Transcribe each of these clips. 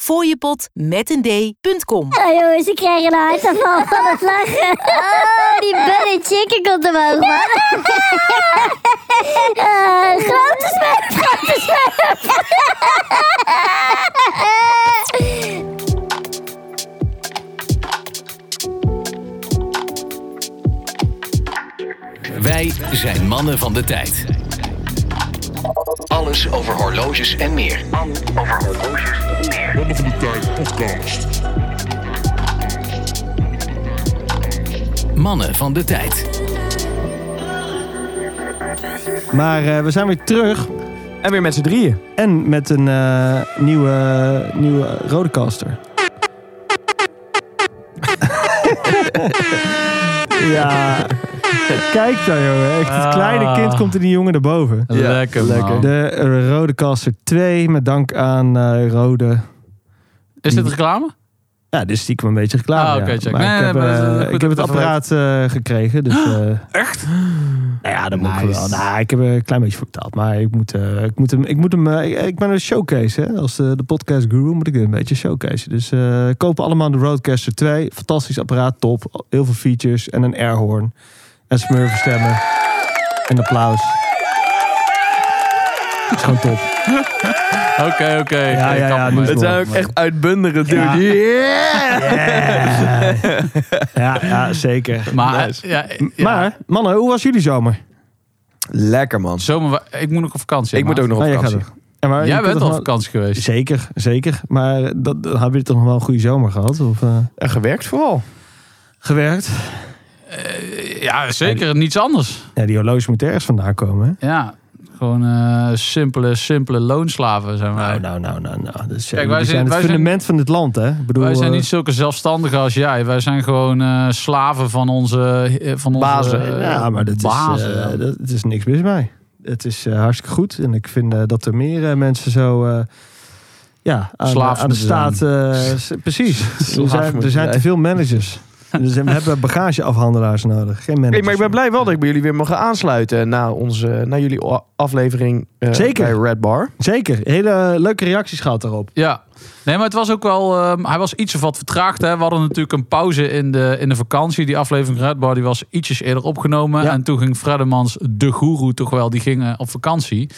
fooiepot.com. Oh, jongens, ik krijg een hartaanval van het lachen. Oh, die Bunny Chicken komt omhoog, man. Uh, grote smurf, grote smurf. Wij zijn mannen van de tijd. Alles over horloges en meer. Mannen van de Tijd podcast. Mannen van de tijd. Maar eh, we zijn weer terug En weer met z'n drieën. en met een eh, nieuwe, nieuwe Rodecaster. ja, kijk daar jongen. Echt, het kleine kind komt in die jongen erboven. Ah. lekker, man. De eh, Rodecaster 2, met dank aan eh, Rode. Is dit reclame? Ja, dit is stiekem een beetje reclame. Ah, oké, ja. check. Maar Nee, ik nee, heb, maar dat is eh, ik goed heb het dat je dat apparaat eh, gekregen. Dus, Echt? Nou ja, daar moet ik wel. Nice. Nou, ik heb er een klein beetje voor betaald. Maar ik moet, eh, ik moet hem... Ik, moet hem eh, ik, ik ben een showcase, hè. Als eh, de, de podcast guru moet ik dit een beetje showcase. Dus eh kopen allemaal de Roadcaster 2. Fantastisch apparaat, top. Heel veel features. En een airhorn. En smurverstemmen. En applaus. Het is gewoon top. Oké, oké. ja, ja, nu is Het Mooi, zijn ook echt uitbundige dude. Ja. Yeah! Ja, ja zeker. Maar, eh, Nice. ja, ja. Maar, mannen, hoe was jullie zomer? Lekker man. Zomer, wa- ik moet ook op vakantie. Ik moet maat. ook nog op Nou, jij gaat vakantie. er. En waar- je Jij kunt bent toch al op wel- vakantie geweest. Zeker, zeker. Maar dat, dan hebben jullie toch nog wel een goede zomer gehad? Of, eh, En gewerkt vooral. Gewerkt? Ja, zeker. Niets anders. Ja, die horloge moet ergens vandaan komen. Hè? Ja, gewoon eh, simpele, simpele loonslaven zijn wij. Nou, nou, nou, nou. nou. Dat is, Kijk, eh, wij die zijn- zijn het wij zijn- fundament van dit land, hè? Ik bedoel, wij zijn eh, niet zulke zelfstandigen als jij. Wij zijn gewoon eh, slaven van onze... eh, Van onze bazen. eh, ja, maar dat is, bazen. eh, dat, het is niks mis mee. Het is eh, hartstikke goed. En ik vind eh, dat er meer eh, mensen zo... eh, ja, aan, Slaaf aan de moeten staat... eh, s- precies. Er zijn, er moeten zijn te zijn. veel managers. Dus we hebben bagageafhandelaars nodig. Geen managers. Hey, maar ik ben blij wel dat ik bij jullie weer mag aansluiten na, onze, na jullie o- aflevering eh, Zeker. bij Red Bar. Zeker. Hele leuke reacties gehad daarop. Ja, nee, maar het was ook wel. ehm, hij was iets of wat vertraagd. Hè. We hadden natuurlijk een pauze in de, in de vakantie. Die aflevering Red Bar die was ietsjes eerder opgenomen. Ja. En toen ging Freddemans, de goeroe, toch wel, die ging eh, op vakantie.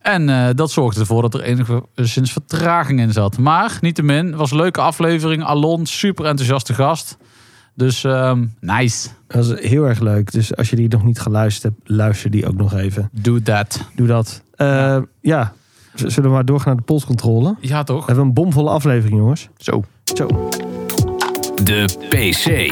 En eh, dat zorgde ervoor dat er enigszins vertraging in zat. Maar niettemin, was een leuke aflevering. Alon, super enthousiaste gast. Dus ehm, nice. Dat is heel erg leuk. Dus als je die nog niet geluisterd hebt, luister die ook nog even. Do that. Doe dat. Eh, ja, Z- zullen we maar doorgaan naar de polscontrole? Ja, We toch? hebben een bomvolle aflevering, jongens. Zo. Zo. De PC.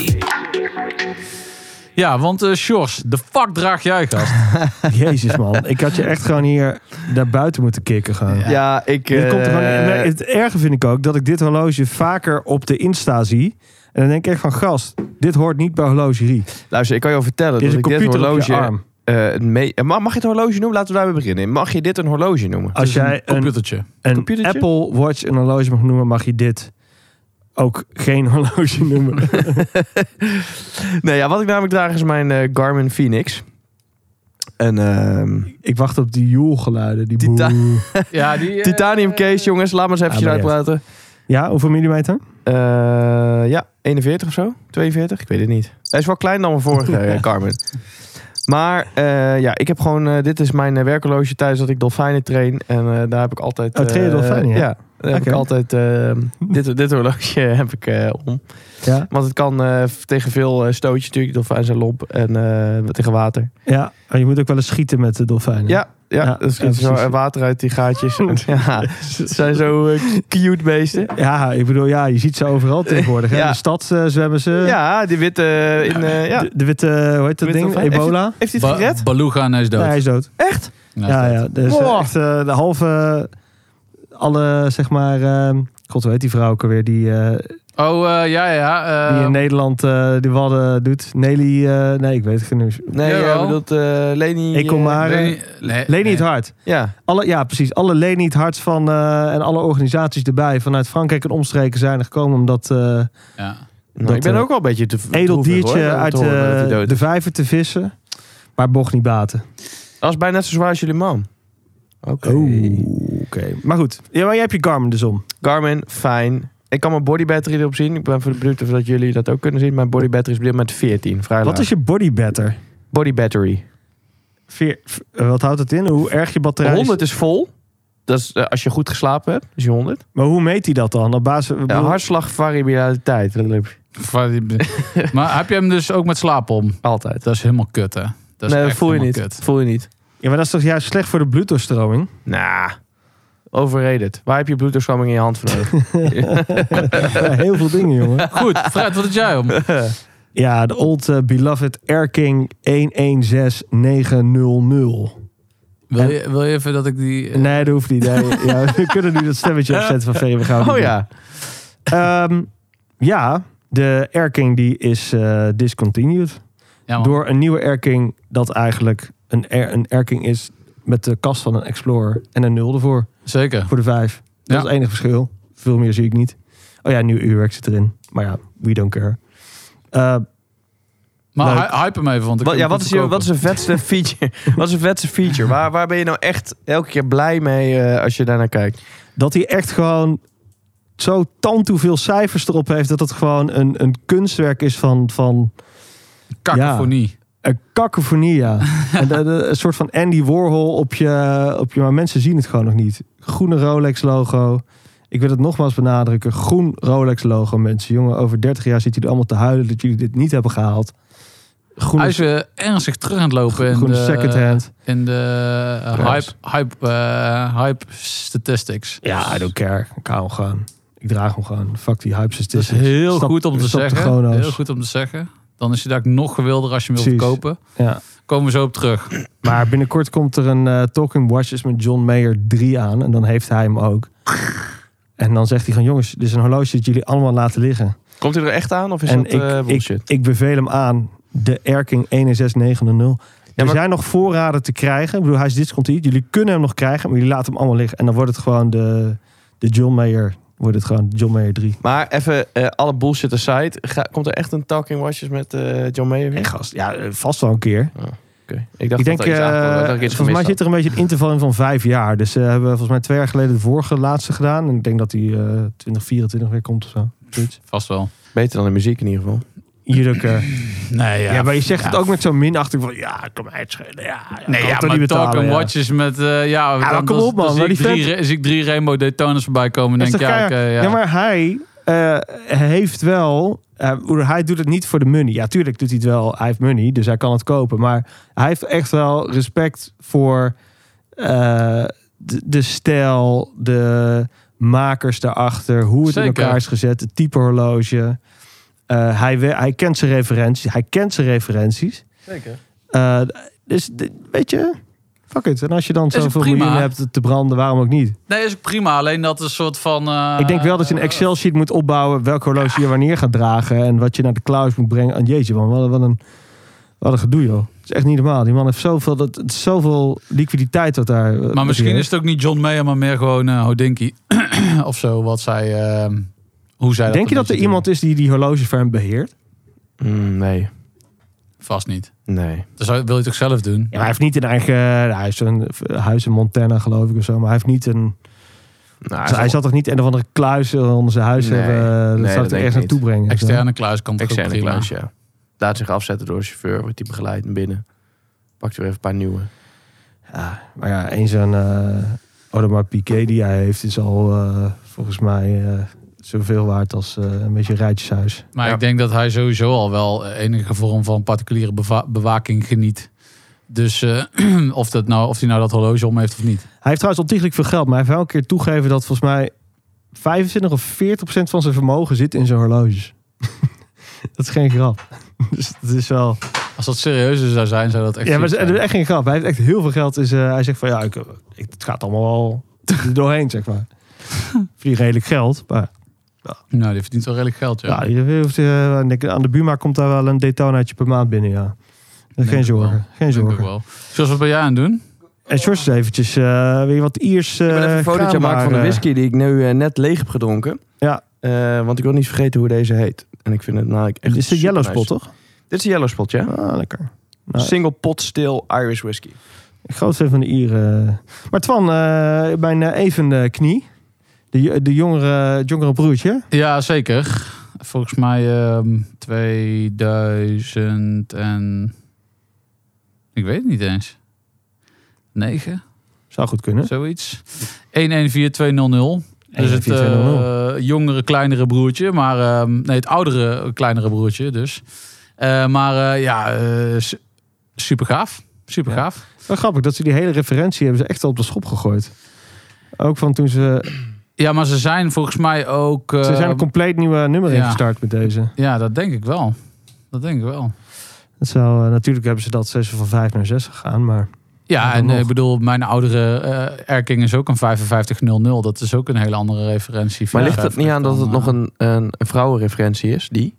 Ja, want eh Sjors, de fuck draag jij, gast? Jezus, man. Ik had je echt gewoon hier naar buiten moeten kicken. Gewoon. Ja, ik... Dit komt er gewoon- eh, maar het erge vind ik ook dat ik dit horloge vaker op de Insta zie. En dan denk ik echt van, gast, dit hoort niet bij horlogerie. Luister, ik kan je vertellen Dit is een dat ik dit computer op je horloge... arm. eh, mee, eh, mag mag je het horloge noemen? Laten we daarmee beginnen. Mag je dit een horloge noemen? Als jij een, Computertje. een computertje? Apple Watch een horloge mag noemen, mag je dit ook geen horloge noemen. Nee, ja, wat ik namelijk draag is mijn eh, Garmin Phoenix. En ehm, Ik wacht op die joelgeluiden. Die Tita- boe. Ja, die, eh, titanium case, jongens. Laat maar eens even Ah, maar uitpraten. Ja, hoeveel millimeter? Eh, ja, 41 of zo? 42? Ik weet het niet. Hij is wel klein dan mijn vorige, eh, Carmen. Maar eh, ja, ik heb gewoon... eh, dit is mijn eh, werkhorloge thuis dat ik dolfijnen train. En eh, daar heb ik altijd... Oh, train je eh, dolfijnen, ja? Ja, daar heb Oké. ik altijd... eh, dit, dit horloge heb ik eh, om. Ja. Want het kan eh, tegen veel eh, stootjes natuurlijk. Dolfijnen zijn lomp. En eh, tegen water. Ja, maar je moet ook wel eens schieten met de dolfijnen. Ja, ja, Ja, er schiet ja, precies. zo eh, water uit die gaatjes. ja, het zijn zo eh, cute beesten. Ja, ik bedoel, ja, je ziet ze overal tegenwoordig. hè. Ja. In de stad eh, zwemmen ze. Ja, die witte... eh, in, eh, ja. De, de witte, hoe heet dat Witte ding? dolfijn. Ebola? Heeft hij Ba- het gered? Beluga en hij is dood. Nee, hij is dood. Echt? Ja, ja, is dood. ja. Dus eh, Wow. echt eh, ehm, de halve, alle, zeg maar, eh, god, hoe heet die vrouw ook alweer? Die, eh, Oh, eh, ja, ja. eh, Ehm. die in Nederland eh, die Wadden doet. Nelly, eh, nee, ik weet het niet. Nee, Jawel. jij bedoelt eh, Leni... Ik kom eh, Nou, maar. Leni- nee, Leen nee. niet hard. Ja, Alle, ja, precies. Alle Leen niet hard van eh, en alle organisaties erbij vanuit Frankrijk en omstreken zijn er gekomen omdat eh Ja. Nou, Dat, ik ben eh, ook wel een beetje te edel droevig, diertje hoor, om te uit horen dat hij eh, dood de is. vijver te vissen. Maar bocht niet baten. Dat is bijna net zo zwaar als jullie man. Oké. Oké. Maar goed. Ja, maar jij hebt je Garmin dus om. Garmin, fijn. Ik kan mijn body battery erop zien. Ik ben benieuwd of dat jullie dat ook kunnen zien. Mijn body battery is op dit moment 14. Vrij Wat is je body better? body battery? Veer, v- eh, wat houdt het in? Hoe erg je batterij is? 100 is vol. Dat is eh, als je goed geslapen hebt. Is je 100. Maar hoe meet hij dat dan? Op basis, ik Ja, bedoel- hartslagvariabiliteit. maar heb je hem dus ook met slaap om? Altijd. Dat is helemaal kut, hè? Dat is nee, dat echt voel je niet. helemaal kut. Voel je niet. ja, maar dat is toch juist slecht voor de bloeddoorstroming? Nou, overrated. Waar heb je bloeddoorstroming in je hand voor nodig? Ja, heel veel dingen, jongen. Goed, Fred, wat had jij om? Ja, de old eh, beloved Air King 116900. Wil je, wil je even dat ik die... eh, Nee, dat hoeft niet. Nee, ja, we kunnen nu dat stemmetje opzetten van Vee, we gaan het oh niet ja. doen. Ehm, ja, de Air King die is eh, discontinued. ja, man. Door een nieuwe Air King dat eigenlijk een Air, een Air King is met de kast van een Explorer en een nul ervoor. Zeker. Voor de vijf. Dat Ja. is het enige verschil. Veel meer zie ik niet. Oh ja, nieuw uurwerk zit erin. Maar ja, we don't care. Eh, Maar Leuk. hy- hype hem even, want ik Wat, kan ja, hem wat, is goed je, verkopen. wat is de vetste feature? wat is de vetste feature? Waar, waar ben je nou echt elke keer blij mee eh, als je daarnaar kijkt? dat hij echt gewoon zo tantoe veel cijfers erop heeft... dat het gewoon een, een kunstwerk is van, van Cacophonie. een kakofonie, ja. en de- de- een soort van Andy Warhol op je, op je... Maar mensen zien het gewoon nog niet. Groene Rolex-logo. Ik wil het nogmaals benadrukken. Groen Rolex-logo, mensen. Jongen, over 30 jaar zitten jullie allemaal te huilen... dat jullie dit niet hebben gehaald. Groene, Hij is weer ernstig terug aan het lopen in groene de, secondhand. in de eh, Prijs. hype, hype, eh, hype statistics. Ja, I don't care. Ik hou hem gewoon. Ik draag hem gewoon. Fuck die hypes. Dat is Dus heel goed om te zeggen. Gewoon Heel goed om te zeggen. Dan is hij daar nog gewilder als je hem wilt Precies. kopen. Ja. Komen we zo op terug. Maar binnenkort komt er een eh, Talking Watches met John Mayer 3 aan. En dan heeft hij hem ook. En dan zegt hij gewoon, jongens, dit is een horloge dat jullie allemaal laten liggen. Komt hij er echt aan of is en dat eh, ik, bullshit? ik, ik beveel hem aan. De Erking 16900. Ja, maar- Er zijn nog voorraden te krijgen. Ik bedoel, hij is discontinued. Jullie kunnen hem nog krijgen, maar jullie laten hem allemaal liggen. En dan wordt het gewoon de, de John Mayer. Wordt het gewoon de John Mayer 3. Maar even eh, alle bullshit aside. Ga, komt er echt een Talking Watches met eh, John Mayer Hey, weer? gast, ja, eh, vast wel een keer. Oké. Ik dacht ik denk, dat er iets aankwam, dat eh, er iets volgens mij gemist zit er een beetje een interval in van vijf jaar. Dus ze hebben volgens mij twee jaar geleden de vorige laatste gedaan. En ik denk dat die eh 2024 weer komt of zo. Zoiets. Vast wel. had. Beter dan de muziek in ieder geval. Hier ook, eh, Nee, ja, maar je zegt het ook met zo'n minachting van... Ja, ik kan mij uitschelen. Ja, ja, Nee, kan ja, het toch maar niet betalen, talk and ja. watches met... eh, ja, maar dan, kom dan- op, man, dan maar zie, ik die drie, vent- re- zie ik drie Rainbow Daytonas voorbij komen. Dat En is denk toch ja, oké, keihard? ja. Ja, maar hij eh, heeft wel... eh, hoe- hij doet het niet voor de money. Ja, tuurlijk doet hij het wel. Hij heeft money, dus hij kan het kopen. Maar hij heeft echt wel respect voor eh, de, de stijl, de makers daarachter, hoe het in Zeker. elkaar is gezet, het type horloge. Eh, hij, we- hij kent zijn referenties. Hij kent zijn referenties. Zeker. Eh, dus d- weet je, fuck it. En als je dan Is het zoveel prima? miljoenen hebt te branden, waarom ook niet? Nee, is ook prima. Alleen dat is een soort van... eh, Ik denk wel dat je een Excel-sheet moet opbouwen. welk horloge je wanneer gaat dragen. en wat je naar de cloud moet brengen. En jeetje, man, wat, een- wat, een, wat een gedoe, joh. Het is echt niet normaal. Die man heeft zoveel, dat, het is zoveel liquiditeit dat daar. eh, Maar misschien is heeft. het ook niet John Mayer, maar meer gewoon eh, Hodinky. of zo, wat zij... eh, hoe zij Denk je een dat er beetje iemand is die die horlogefirm beheert? Mm, nee. doen. Vast niet. Nee. Dat zou, wil je toch zelf doen? Ja, maar hij heeft niet een eigen. nou, hij heeft een eh, huis in Montana, geloof ik, of zo. Maar hij heeft niet een. Nou, hij zal toch niet een of andere kluis onder zijn huis Nee. hebben. eh, Nee, dat dat zou denk ik ik ergens naartoe niet. brengen. of zo? Externe kluis kan toch ook Externe prima. kluis, ja. Laat zich afzetten door de chauffeur. Wordt die begeleid naar binnen. Pakt er weer even een paar nieuwe. Ja, maar ja, eens zo'n eh Audemars Piquet die hij heeft, is al eh, volgens mij eh, zoveel waard als eh, een beetje een rijtjeshuis. Maar Ja. ik denk dat hij sowieso al wel eh, enige vorm van particuliere beva- bewaking geniet. Dus eh, of, dat nou, of hij nou dat horloge om heeft of niet. Hij heeft trouwens ontiegelijk veel geld, maar hij heeft wel een keer toegegeven dat volgens mij 25 of 40 procent van zijn vermogen zit in zijn horloges. dat is geen grap. dus dat is wel. Als dat serieus zou zijn, zou dat echt. Ja, maar ziek het zijn. is echt geen grap. Hij heeft echt heel veel geld. Is, eh, hij zegt van ja, ik, ik- het gaat allemaal wel er doorheen, zeg maar. Voor die redelijk geld. Maar Nou, die verdient wel redelijk geld, ja. Ja, je hoeft, eh, aan de- aan de buurman komt daar wel een detonaatje per maand binnen, ja. Eh, Denk Geen ik wel. zorgen, geen Denk ik zorgen. wel. Zoals wat ben jij aan het doen? En George is eventjes, eh weet je wat, Iers eh Ik ben even een fotootje kraambaar, maken van de eh, whisky die ik nu eh, net leeg heb gedronken. Ja. Eh, want ik wil niet vergeten hoe deze heet. En ik vind het namelijk echt Dit eh, is de super Yellow nice. Spot, toch? Dit is de Yellow Spot, ja. Ah, lekker. Nou, Single pot still Irish whisky. Groot fan van de Ieren. Maar Twan, eh, mijn eh, even eh, knie. De, jo- de jongere, het jongere broertje. Ja, zeker. Volgens mij ehm 2000 en... Ik weet het niet eens. 9, Zou goed kunnen. zoiets. 114200. Dus het eh, 114200. jongere, kleinere broertje. Maar, ehm, nee, het oudere, kleinere broertje dus. Eh, maar eh, ja, super gaaf. Super gaaf. Wel grappig dat ze die hele referentie hebben ze echt al op de schop gegooid. Ook van toen ze... Ja, maar ze zijn volgens mij ook... Ze Ehm, eh, zijn een compleet nieuwe nummer ja. ingestart met deze. Ja, dat denk ik wel. Dat denk ik wel. Dat zou, eh, natuurlijk hebben ze dat ze van 5 naar 6 gegaan, maar... Ja, Ja, en nog. eh, ik bedoel, mijn oudere eh Erking is ook een 5500. Dat is ook een hele andere referentie. Maar Ja, ligt het niet aan dat eh, het nog een, een, een vrouwenreferentie is? Die?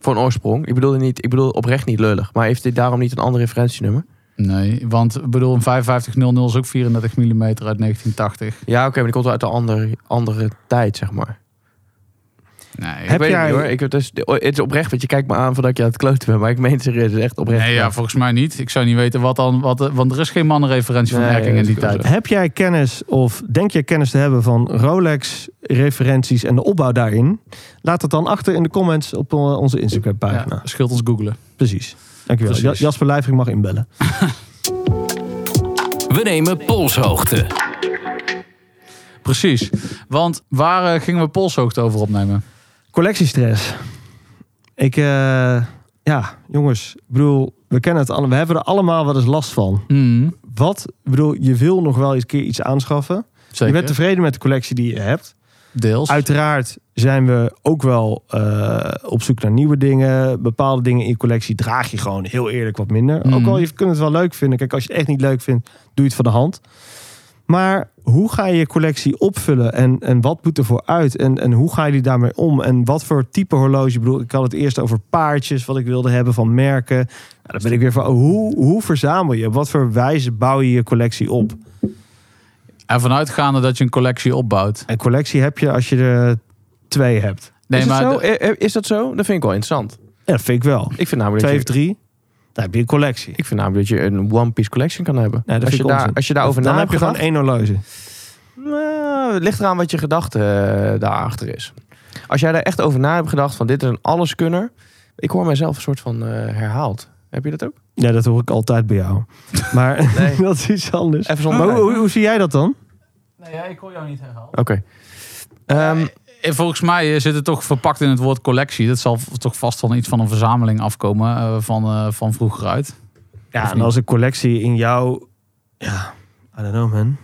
Van oorsprong. Ik bedoel, niet, ik bedoel oprecht niet lullig. Maar heeft dit daarom niet een ander referentienummer? Nee, want ik bedoel, een 5500 is ook 34 mm uit 1980. Ja, oké, maar die komt wel uit een andere, andere tijd, zeg maar. Nee, Ik Heb weet het jij- niet hoor. Ik, het, is, het is oprecht, want je kijkt me aan van dat ik je aan het kloten bent. Maar ik meen het serieus, het is echt oprecht. nee ja, volgens mij niet. Ik zou niet weten wat dan, wat, eh, want er is geen mannenreferentie van Nee, Erking in dat die is wel tijd. Heb jij kennis of denk jij kennis te hebben van Rolex-referenties en de opbouw daarin? Laat het dan achter in de comments op eh, onze Instagram-pagina. nou. Ja, scheelt ons googlen. Precies. Dankjewel. Precies. Ja- Jasper Lijvering mag inbellen. We nemen polshoogte. Precies. Want waar eh, gingen we polshoogte over opnemen? Collectiestress. Ik, eh, ja, jongens, ik bedoel, we kennen het allemaal. We hebben er allemaal wel eens last van. Hmm, Wat, ik bedoel, je wil nog wel eens een keer iets aanschaffen. zeker. Je bent tevreden met de collectie die je hebt. Deels. Uiteraard zijn we ook wel eh, op zoek naar nieuwe dingen. Bepaalde dingen in je collectie draag je gewoon heel eerlijk wat minder. Mhm. Ook al je kunt het wel leuk vinden. Kijk, als je het echt niet leuk vindt, doe je het van de hand. Maar hoe ga je je collectie opvullen en, en wat moet ervoor uit? En, en hoe ga je die daarmee om? En wat voor type horloge? Ik bedoel, ik had het eerst over paardjes, wat ik wilde hebben van merken. Nou, dan ben ik weer van, hoe, hoe verzamel je? Op wat voor wijze bouw je je collectie op? En vanuitgaande dat je een collectie opbouwt. Een collectie heb je als je er twee hebt. Nee, is, maar dat de- zo? Eh, eh, is dat zo? Dat vind ik wel interessant. Ja, dat vind ik wel. Ik vind namelijk, twee of dat je, drie, dan heb je een collectie. ik vind namelijk dat je een One Piece collection kan hebben. Nee, dat als, vind je ik daar, onzin. als je daarover dan na heb hebt je gewoon gedacht. één horloge. Nou, het ligt eraan wat je gedachte eh, daarachter is. Als jij daar echt over na hebt gedacht van dit is een alleskunner. Ik hoor mijzelf een soort van eh, herhaald. Heb je dat ook? Ja, dat hoor ik altijd bij jou. Maar Nee. dat is iets anders. Even Maar zonder. hoe, hoe, hoe zie jij dat dan? Nee, ja, ik hoor jou niet herhalen. Oké. Ehm, Eh, Volgens mij eh, zit het toch verpakt in het woord collectie. Dat zal v- toch vast van iets van een verzameling afkomen eh, van, eh, van vroeger uit. Ja, en niet? als een collectie in jou... Ja, I don't know man.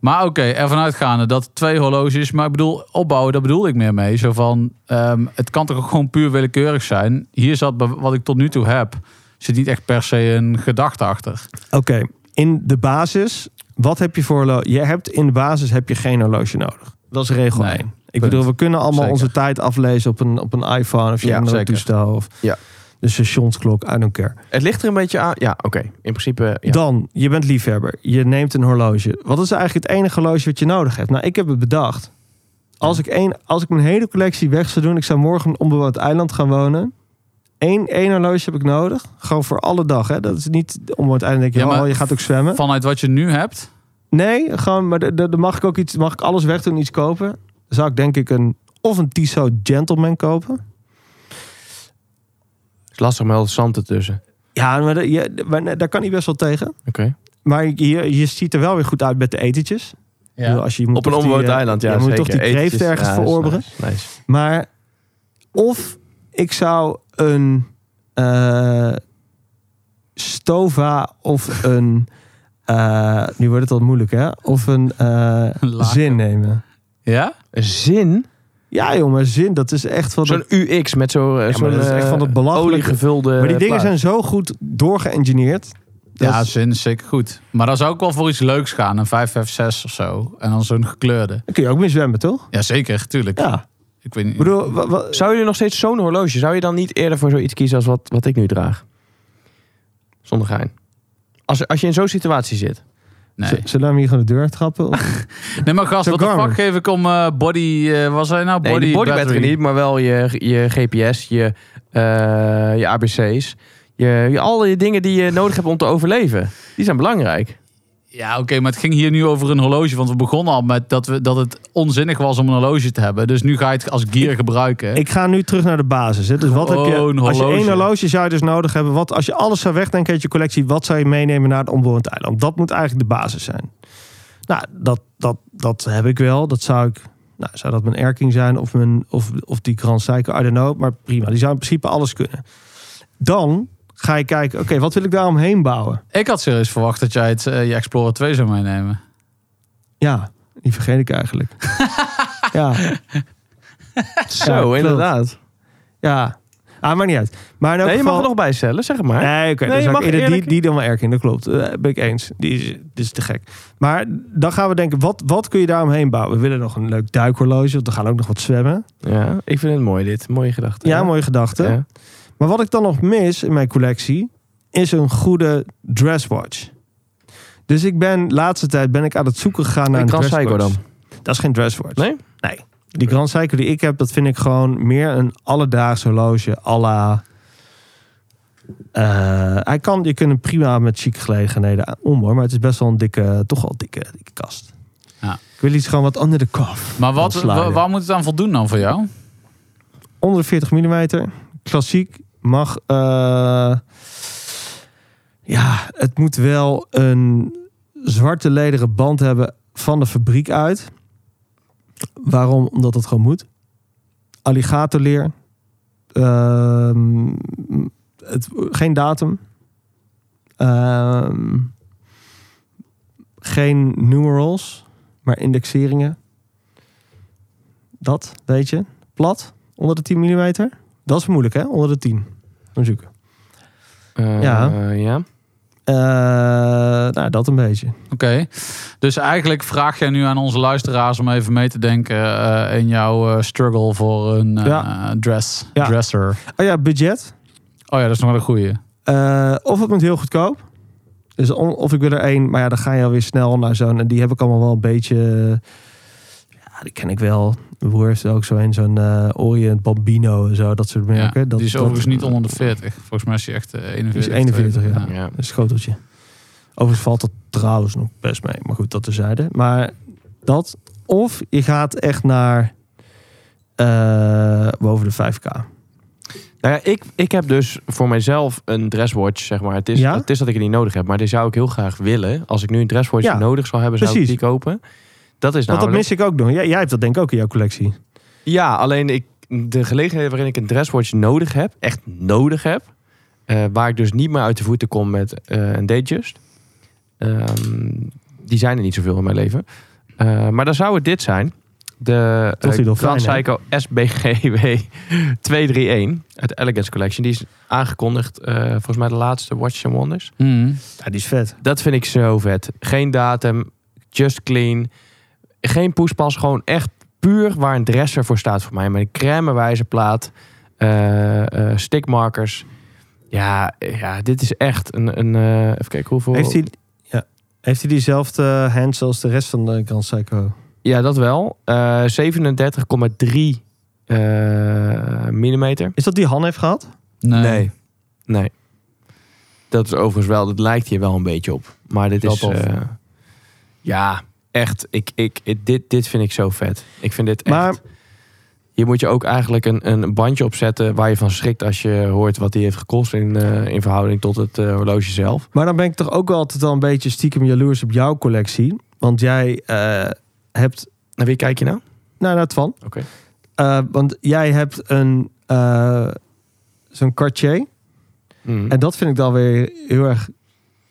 Maar oké, ervan uitgaande dat twee horloges... Maar ik bedoel, opbouwen, daar bedoel ik meer mee. Zo van, ehm, het kan toch ook gewoon puur willekeurig zijn. Hier zat, bij wat ik tot nu toe heb, zit niet echt per se een gedachte achter. Oké, in de basis, wat heb je voor horloge? Je hebt in de basis heb je geen horloge nodig. Dat is regel Nee, 1. Ik punt. bedoel, we kunnen allemaal Zeker. onze tijd aflezen op een, op een iPhone of je Ja, hebt een zeker. toestel of Ja. de stationsklok, I don't care. het ligt er een beetje aan. Ja, oké. In principe. eh, Ja. Dan, je bent liefhebber. Je neemt een horloge. Wat is eigenlijk het enige horloge wat je nodig hebt? Nou, ik heb het bedacht. Als ik, één, als ik mijn hele collectie weg zou doen, ik zou morgen op een onbewoond eiland gaan wonen. Eén, één horloge heb ik nodig. Gewoon voor alle dag. Hè? Dat is niet onbewoond eiland. Denk je, Ja, maar oh, je gaat ook zwemmen. Vanuit wat je nu hebt... Nee, gewoon, maar d- d- dan mag ik ook iets, mag ik alles weg doen, iets kopen. Dan zou ik denk ik een, of een Tissot Gentleman kopen. Het is lastig met al het zand ertussen. Ja, maar, dat- ja, d- maar nee, daar kan hij best wel tegen. Oké. Maar je, je ziet er wel weer goed uit met de etentjes. Ik bedoel, Als je, je moet Op een toch die, onbewoond eh, eiland, ja. je moet zeker. toch die Etentjes, kreeft ergens ja, dat is verorberen. Nice. nice. Maar of ik zou een eh, Stova of een. eh, nu wordt het al moeilijk, hè? Of een eh, Laken. zin nemen. Ja? Een Zin? Ja, jongen, zin. Dat is echt van. Zo'n dat- UX met zo'n eh, maar zo'n, dat is echt eh, van dat belachelijke- oliegevulde. maar die dingen eh, plaat. zijn zo goed doorgeëngineerd. Dat Ja, is- zin is zeker goed. Maar dan zou ik wel voor iets leuks gaan. Een 556 of zo. En dan zo'n gekleurde. Daar kun je ook mee zwemmen, toch? Jazeker, tuurlijk. Ja. Ik weet niet. Ik bedoel, wa- wa- Zou je nog steeds zo'n horloge, zou je dan niet eerder voor zoiets kiezen als wat, wat ik nu draag? Zonder gein. Als, als je in zo'n situatie zit. z- nee. zullen we hem hier gewoon de deur trappen? Of- nee, maar gast, Zo'n wat de Garmin. fuck geef ik om eh, body... eh, wat was hij nou? Nee, Body, de body battery. battery. niet, maar wel je, je GPS, je, eh, je ABC's. Je, je, al die dingen die je nodig hebt om te overleven. Die zijn belangrijk. Ja, oké, maar het ging hier nu over een horloge. Want we begonnen al met dat, we, dat het onzinnig was om een horloge te hebben. Dus nu ga je het als gear gebruiken. ik ga nu terug naar de basis. Hè. Dus wat heb je, Gewoon als je horloge. één horloge zou je dus nodig hebben. Wat, als je alles zou wegdenken uit je collectie, wat zou je meenemen naar het onbewoond eiland? Dat moet eigenlijk de basis zijn. Nou, dat, dat, dat heb ik wel. Dat zou ik. Nou, zou dat mijn Erking zijn of, mijn, of, of die Grand Seiko? I don't know. Maar prima, die zou in principe alles kunnen. Dan ga je kijken, oké, wat wil ik daaromheen bouwen? Ik had serieus verwacht dat jij het, eh, je Explorer 2 zou meenemen. Ja, die vergeet ik eigenlijk. ja, Zo, klopt. inderdaad. ja. Ah, maar niet uit. Maar in elk Nee, je mag geval... er nog bij stellen, zeg het maar. Nee, oké. Nee, dan je zou mag ik eerder die, eerlijk- die dan wel erken. Dat klopt. Eh, ben ik eens. Die is, die is te gek. Maar dan gaan we denken, wat, wat kun je daaromheen bouwen? We willen nog een leuk duikhorloge. Want we gaan ook nog wat zwemmen. Ja, ik vind het mooi dit. Mooie gedachte. Ja, Nou, mooie gedachte. Ja. Maar wat ik dan nog mis in mijn collectie... is een goede dresswatch. Dus ik ben, laatste tijd ben ik aan het zoeken gegaan naar Een een Grand dresswatch. Seiko dan? Dat is geen dresswatch. Nee? Nee. Die Grand Seiko die ik heb, dat vind ik gewoon meer een alledaags horloge à la... Eh, hij kan, je kunt hem prima met chic gelegenheden om hoor, maar het is best wel een dikke, toch wel dikke, dikke kast. Ja. Ik wil iets gewoon wat onder de kaf. Maar wat, kan sliden. wa- waar moet het aan voldoen dan voor jou? Onder de 40 mm, klassiek, mag... eh, ja, het moet wel een zwarte lederen band hebben van de fabriek uit. Waarom? Omdat het gewoon moet. Alligatorleer. Ehm, het, geen datum. Ehm, geen numerals, maar indexeringen. Dat, weet je. Plat, onder de 10 mm. Dat is moeilijk, hè? Onder de 10. Dan zoeken. Eh, Ja. ja. Eh, nou, dat een beetje. Oké. Dus eigenlijk vraag jij nu aan onze luisteraars om even mee te denken eh, in jouw eh, struggle voor een eh, Ja. dress, Ja. dresser. Oh ja, budget. Oh ja, dat is nog wel een goeie. Eh, of het moet heel goedkoop. Dus on- of ik wil er één, maar ja, dan ga je alweer snel naar zo'n. En die heb ik allemaal wel een beetje. Ja, die ken ik wel. Mijn broer heeft er ook zo een, zo'n eh, Orient Bambino en zo, dat soort Ja. merken. dat, die is dat- overigens niet onder de 40. Volgens mij is die echt eh, 41. Die is 41, ja. ja. Een schoteltje. Overigens valt dat trouwens nog best mee. Maar goed, dat terzijde. Maar dat. Of je gaat echt naar. eh, boven de 5K. Nou ja, ik, ik heb dus voor mijzelf een dresswatch, zeg maar. Het is, Ja? het is dat ik het niet nodig heb, maar die zou ik heel graag willen. Als ik nu een dresswatch Ja, nodig zou hebben, zou precies. ik die kopen. Dat is Want dat namelijk... mis ik ook nog. Jij, jij hebt dat denk ik ook in jouw collectie. Ja, alleen ik, de gelegenheden waarin ik een dresswatch nodig heb, echt nodig heb, eh, waar ik dus niet meer uit de voeten kom met eh, een Datejust, ehm, die zijn er niet zoveel in mijn leven. Eh, maar dan zou het dit zijn. De Toch die eh, dolfijn, Grand hè? Seiko SBGW 231 uit de Elegance Collection. Die is aangekondigd, eh, volgens mij de laatste Watch and Wonders. Hmm. Ja, die is vet. Dat vind ik zo vet. Geen datum, just clean. Geen poespas, gewoon echt puur waar een dresser voor staat voor mij. Met een crème wijze plaat, eh, eh, stickmarkers. Ja, ja, dit is echt een... een eh, even kijken hoeveel... Heeft hij, ja, heeft hij diezelfde hands als de rest van de Grand Seiko? Ja, dat wel. Eh 37,3 eh millimeter. Is dat die Han heeft gehad? Nee. Nee. Dat is overigens wel, dat lijkt hier wel een beetje op. Maar dit Wel is. tof. eh, ja, echt. Ik, ik, ik- dit, dit vind ik zo vet. Ik vind dit echt. Maar- Hier moet je ook eigenlijk een, een bandje opzetten waar je van schrikt als je hoort wat die heeft gekost in, eh, in verhouding tot het eh, horloge zelf. Maar dan ben ik toch ook altijd al een beetje stiekem jaloers op jouw collectie. Want jij eh, hebt... Naar wie kijk je nou? Nou, dat van. Oké. Eh, want jij hebt een... eh, Zo'n Cartier. Mm. En dat vind ik dan weer heel erg...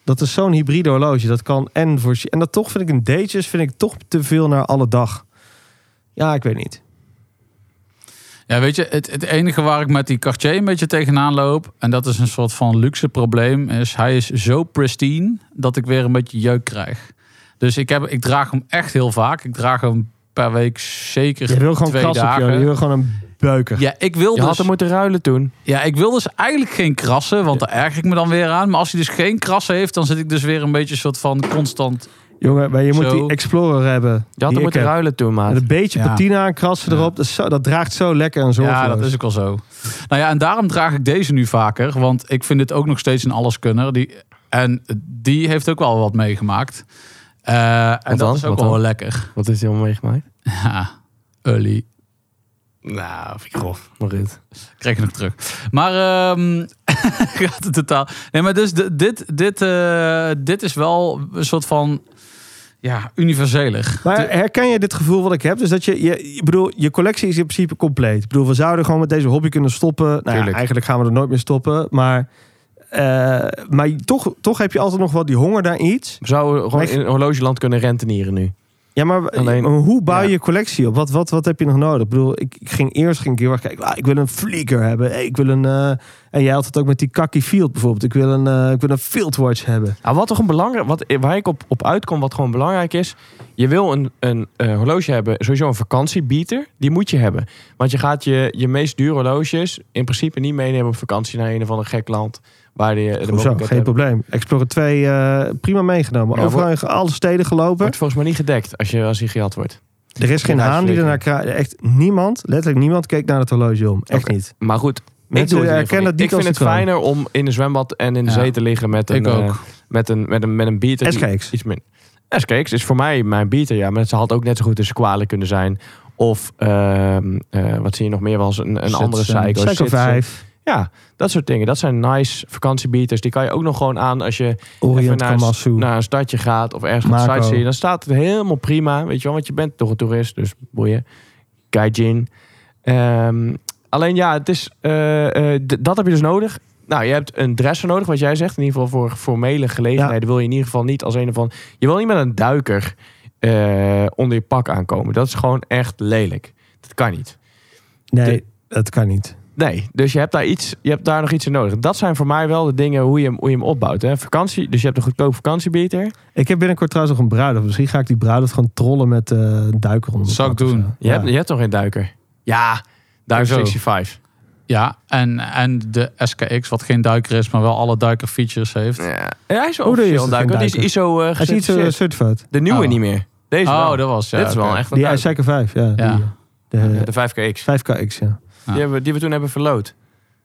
Dat is zo'n hybride horloge. Dat kan en voor... En dat toch vind ik een Datejust vind ik toch te veel naar alle dag. Ja, ik weet niet. Ja, weet je, het, het enige waar ik met die Cartier een beetje tegenaan loop... en dat is een soort van luxe probleem... is hij is zo pristine dat ik weer een beetje jeuk krijg. Dus ik, heb, ik draag hem echt heel vaak. Ik draag hem per week zeker Je wil gewoon twee kras op dagen. jou. Je wil gewoon een buiker. Ja, ik wil Je dus... had hem moeten ruilen toen. Ja, ik wil dus eigenlijk geen krassen, want daar erger ik me dan weer aan. Maar als hij dus geen krassen heeft, dan zit ik dus weer een beetje soort van constant. Jongen, maar je moet Zo. die Explorer hebben. Je had die hem ik moeten heb. ruilen toen, maat. Met een beetje Ja. patina en krassen Ja. erop. Dat, is zo, dat draagt zo lekker en zo. Ja, dat is ook wel zo. Nou ja, en daarom draag ik deze nu vaker, want ik vind dit ook nog steeds een alleskunner. Die, en die heeft ook wel wat meegemaakt. Eh, en dat Wat dan? is ook Wat wel dan? lekker. Wat is hij allemaal meegemaakt? Ja, Ully. Nou, vind ik grof. Maar dit. Krijg je nog terug. Maar ehm, gaat het totaal. Nee, maar dus d- dit, dit, eh, dit is wel een soort van. Ja, universeler. Maar herken je dit gevoel wat ik heb? Dus dat je, je, ik bedoel, je collectie is in principe compleet. Ik bedoel, we zouden gewoon met deze hobby kunnen stoppen. Nou ja, Tuurlijk. eigenlijk gaan we er nooit meer stoppen. Maar, eh, maar toch, toch heb je altijd nog wel die honger naar iets. We zouden gewoon in horlogeland kunnen rentenieren nu. Ja, maar Alleen- maar hoe bouw je ja. je collectie op? Wat, wat, wat heb je nog nodig? Ik bedoel, ik, ik ging eerst ging ik heel erg kijken. Ah, ik wil een Flicker hebben. Hey, ik wil een, eh, en jij had het ook met die Kaki Field bijvoorbeeld. Ik wil een, eh, ik wil een Fieldwatch hebben. Nou, wat toch een belangrijk, wat, waar ik op, op uitkom, wat gewoon belangrijk is. Je wil een, een eh, horloge hebben, sowieso een vakantiebieter. Die moet je hebben. Want je gaat je, je meest dure horloges in principe niet meenemen op vakantie naar een of ander gek land. Waar je de Goed zo, mogelijkheid geen hebt. probleem. Explorer 2, eh, prima meegenomen. Ja, Overal in alle steden gelopen. Wordt volgens mij niet gedekt als je als je gejat wordt. Er is geen Geen haan die huisvlikker. ernaar kraait. Echt niemand, letterlijk niemand, keek naar het horloge om. Echt Oké. niet. Maar goed, ik, Mensen doe het in ieder geval herkennen dat niet. ik niet als vind het de kroon. fijner om in een zwembad en in de Ja. zee te liggen met een, Ik ook. eh, met een, met een, met een beater. die SKX. Iets min. SKX is voor mij mijn beater, ja. Maar ze had ook net zo goed een Squale kunnen zijn. Of, ehm, eh, wat zie je nog meer wel eens, een, een Sitsen. andere Psycho. eh, Psycho Sitsen. 5, Ja, dat soort dingen. Dat zijn nice vakantiebeaters. Die kan je ook nog gewoon aan als je even Orient naar, Komatsu. een, naar een stadje gaat. Of ergens gaat Mako. sightseeing. Dan staat het helemaal prima. Weet je wel, want je bent toch een toerist. Dus boeien. Gaijin. Ehm, alleen ja, het is, eh, eh, d- dat heb je dus nodig. Nou, je hebt een dresser nodig, wat jij zegt. In ieder geval voor formele gelegenheden wil je in ieder geval niet als een of van. Je wil niet met een duiker eh, onder je pak aankomen. Dat is gewoon echt lelijk. Dat kan niet. nee, dat kan niet. Nee, dus je hebt daar, iets, je hebt daar nog iets in nodig. Dat zijn voor mij wel de dingen hoe je hem, hoe je hem opbouwt. Hè? Vakantie, dus je hebt een goedkoop vakantiebeter. Ik heb binnenkort trouwens nog een bruiloft. Misschien ga ik die bruiloft gewoon trollen met eh, een duiker onder. Dat de zou ik dak of doen. zo. Je, hebt, je hebt toch geen duiker? Ja, duiker Hoezo? 65. Ja, en, en de SKX, wat geen duiker is, maar wel alle duikerfeatures heeft. Ja. hij is wel Oh, er is geen officieel een duiker. Die is duiker. ISO eh Hij is niet zo gecertificeerd. certified. De nieuwe Oh. niet meer. Deze oh, wel. dat was ja. Dit is wel oké. echt een Die eh, duiker. Psycho 5, ja. Ja. Die, eh, de, De 5KX. 5KX, ja. Ja. Die, hebben, we- die we toen hebben verloot.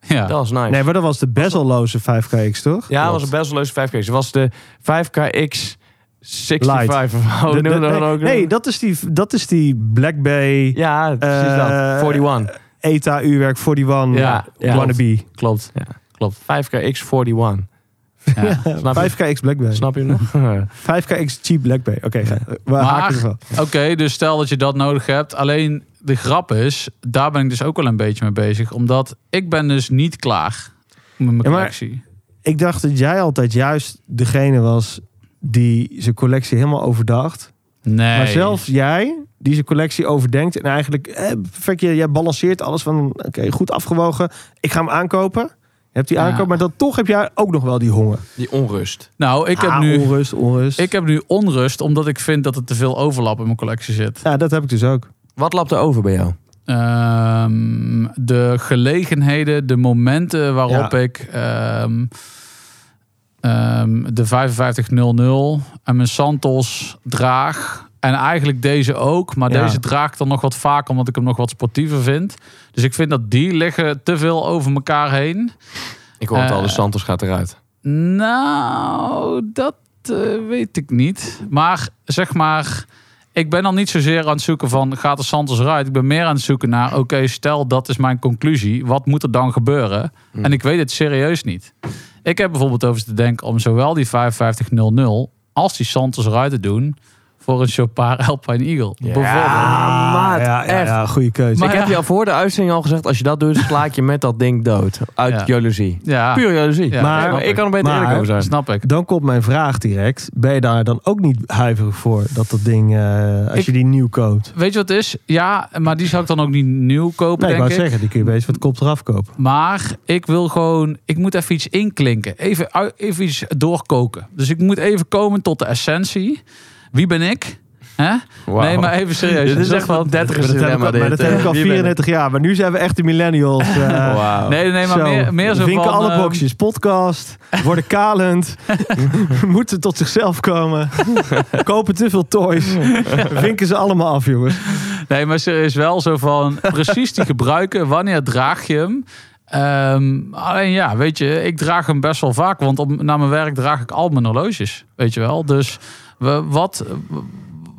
Ja. Dat was nice. Nee, maar dat was de bezelloze 5KX, toch? ja, dat was een bezelloze 5KX. Dat was de 5KX 65. of- Oh, De- de- noem dat nee, ook. nee, dat is die, dat is die Black Bay Ja, precies Eh, dat. 41. ETA-uurwerk 41 Ja, ja. wannabe. Klopt. 5KX 41. Ja. Snap je? 5KX Black Bay. Snap je hem nog? 5KX cheap Black Bay. Oké, ga- we Maar- haken het wel. Oké, dus stel dat je dat nodig hebt. Alleen de grap is, daar ben ik dus ook wel een beetje mee bezig. Omdat ik ben dus niet klaar met mijn Ja, maar- collectie. Ik dacht dat jij altijd juist degene was die zijn collectie helemaal overdacht. Nee. Maar zelfs jij die zijn collectie overdenkt en eigenlijk eh, perfect, jij, jij balanceert alles van oké, goed afgewogen. Ik ga hem aankopen. Je hebt die Ja. aankoop, maar dat toch heb jij ook nog wel die honger. Die onrust. Nou, ik heb, Ah, nu, onrust, onrust. ik heb nu onrust, omdat ik vind dat er te veel overlap in mijn collectie zit. Ja, dat heb ik dus ook. Wat lapt er over bij jou? Ehm, de gelegenheden, de momenten waarop Ja. ik ehm, ehm, de 5500 en mijn Santos draag. En eigenlijk deze ook, maar Ja. deze draag ik dan nog wat vaker omdat ik hem nog wat sportiever vind. Dus ik vind dat die liggen te veel over elkaar heen. Ik hoor het Eh, al, de Santos gaat eruit. Nou, dat eh, weet ik niet. Maar zeg maar, ik ben dan niet zozeer aan het zoeken van gaat de Santos eruit. Ik ben meer aan het zoeken naar, oké, stel dat is mijn conclusie. Wat moet er dan gebeuren? Hmm. En ik weet het serieus niet. Ik heb bijvoorbeeld over te denken om zowel die 5500 als die Santos eruit te doen voor een Chopard Alpine Eagle. Bijvoorbeeld. Ah, maat, ja, ja, echt. ja, goede keuze. ik Maar heb ja. je al voor de uitzending al gezegd, als je dat doet, slaak je met dat ding dood. Uit Ja. jaloezie. Ja, Puur jaloezie. Ja, maar, nee, maar ik kan er beter maar- eerlijk over zijn. snap ik. Dan komt mijn vraag direct. Ben je daar dan ook niet huiverig voor dat dat ding, eh, als Ik- je die nieuw koopt? Weet je wat het is? Ja, maar die zou ik dan ook niet nieuw kopen, Nee, ik wou denk ik. zeggen, die kun je best wat kop eraf kopen. Maar ik wil gewoon, ik moet even iets inklinken. Even, ui- even iets doorkoken. Dus ik moet even komen tot de essentie. Wie ben ik? Hè? Wauw. Nee, maar even serieus. Dit is Zeg echt wel wat- een dertigers Maar dat heb ik dilemma al, maar dat dit, heb eh. ik al Wie ben ik? 34 jaar. Maar nu zijn we echt de millennials. eh. Wauw. Nee, nee, maar Zo, meer, meer zo Winken van... alle ehm, boxjes. Podcast. Worden kalend. moeten tot zichzelf komen. kopen te veel toys. Winken ze allemaal af, jongens. Nee, maar ze is wel zo van precies die gebruiken. Wanneer draag je hem? Ehm, alleen ja, weet je, ik draag hem best wel vaak. Want op, na mijn werk draag ik al mijn horloges. Weet je wel. Dus we- wat,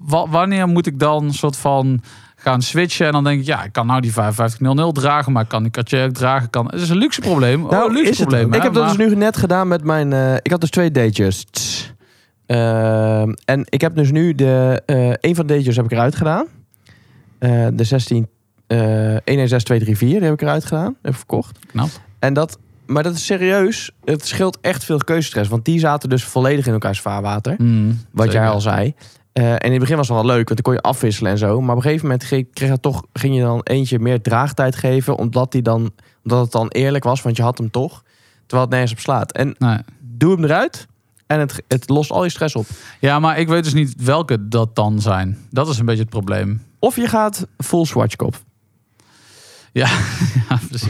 wa- wanneer moet ik dan soort van gaan switchen? En dan denk ik, ja, ik kan nou die 5500 dragen. Maar ik kan die Cartier ook dragen. Ik Kan, het is een luxe probleem. Nou, oh, luxe is het probleem. ook. hè, Ik heb dat maar- dus nu net gedaan met mijn... eh, ik had dus twee datejes. Tss. Ehm, en ik heb dus nu de... eh een van de datejes heb ik eruit gedaan. Eh, de 16... eh 116234, die heb ik eruit gedaan. Heb ik verkocht. Knap. En dat... Maar dat is serieus. Het scheelt echt veel keuzestress. Want die zaten dus volledig in elkaars vaarwater. Hmm, Wat jij zeker. al zei. Eh, en in het begin was het wel leuk, want dan kon je afwisselen en zo. Maar op een gegeven moment kreeg, kreeg het toch, ging je dan eentje meer draagtijd geven. Omdat, die dan, omdat het dan eerlijk was, want je had hem toch. Terwijl het nergens op slaat. En Nee. doe hem eruit. En het, het lost al je stress op. Ja, maar ik weet dus niet welke dat dan zijn. Dat is een beetje het probleem. Of je gaat full swatchkop. Ja, precies.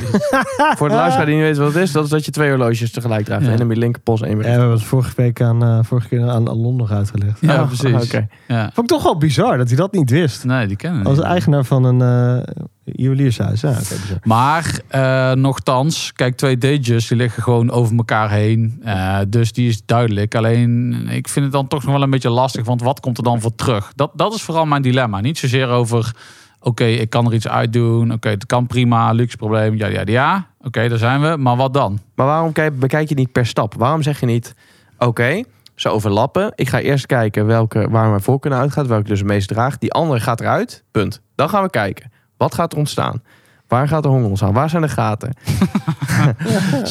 Voor de luisteraar die niet weet wat het is, dat is dat je twee horloges tegelijk draagt. Ja. En dan met je linkerpols en je Ja, we rechter. hebben het vorige week aan, eh, vorige keer aan Alon nog uitgelegd. Ja, Oh, precies. oké. Ja. Vond ik toch wel bizar dat hij dat niet wist. Nee, die kennen we Als niet. eigenaar van een eh, juweliershuis. Ja, oké, bizar. Maar eh nochtans, kijk, twee Dages die liggen gewoon over elkaar heen. Eh, dus die is duidelijk. Alleen, ik vind het dan toch nog wel een beetje lastig. Want wat komt er dan voor terug? Dat, dat is vooral mijn dilemma. Niet zozeer over, oké, ik kan er iets uitdoen. Oké, het kan prima, luxe probleem. Ja, ja, ja. Oké, daar zijn we. Maar wat dan? Maar waarom kijk, bekijk je niet per stap? Waarom zeg je niet, oké, ze overlappen. Ik ga eerst kijken welke, waar mijn voorkeur naar uitgaat. Welke dus het meest draagt. Die andere gaat eruit. Punt. Dan gaan we kijken. Wat gaat er ontstaan? Waar gaat de honger ontstaan? Waar zijn de gaten?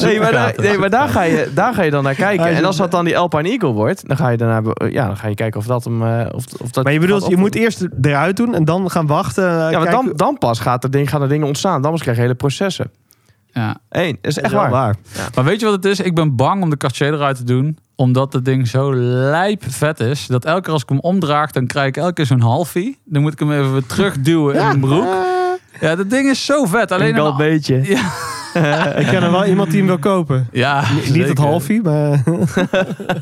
nee, maar, daar, nee, maar daar, ga je, daar ga je dan naar kijken. En als dat dan die Alpine Eagle wordt, dan ga je, daarna, be- ja, dan ga je kijken of dat hem... eh, Of, of dat Maar je bedoelt, gaat je op- moet eerst eruit doen en dan gaan wachten. eh, Ja, maar dan, dan pas gaat er ding, gaan er dingen ontstaan. Dan pas krijg je hele processen. Ja. Eén, dat is echt waar. Maar weet je wat het is? Ik ben bang om de Cartier eruit te doen. Omdat het ding zo lijp vet is. Dat elke keer als ik hem omdraag, dan krijg ik elke keer zo'n halfie. Dan moet ik hem even weer terugduwen in mijn broek. Ja, dat ding is zo vet. Alleen Alleen al hem- een beetje. Ik ken er wel iemand die hem wil kopen. Ja, Niet zeker. het halfie, maar...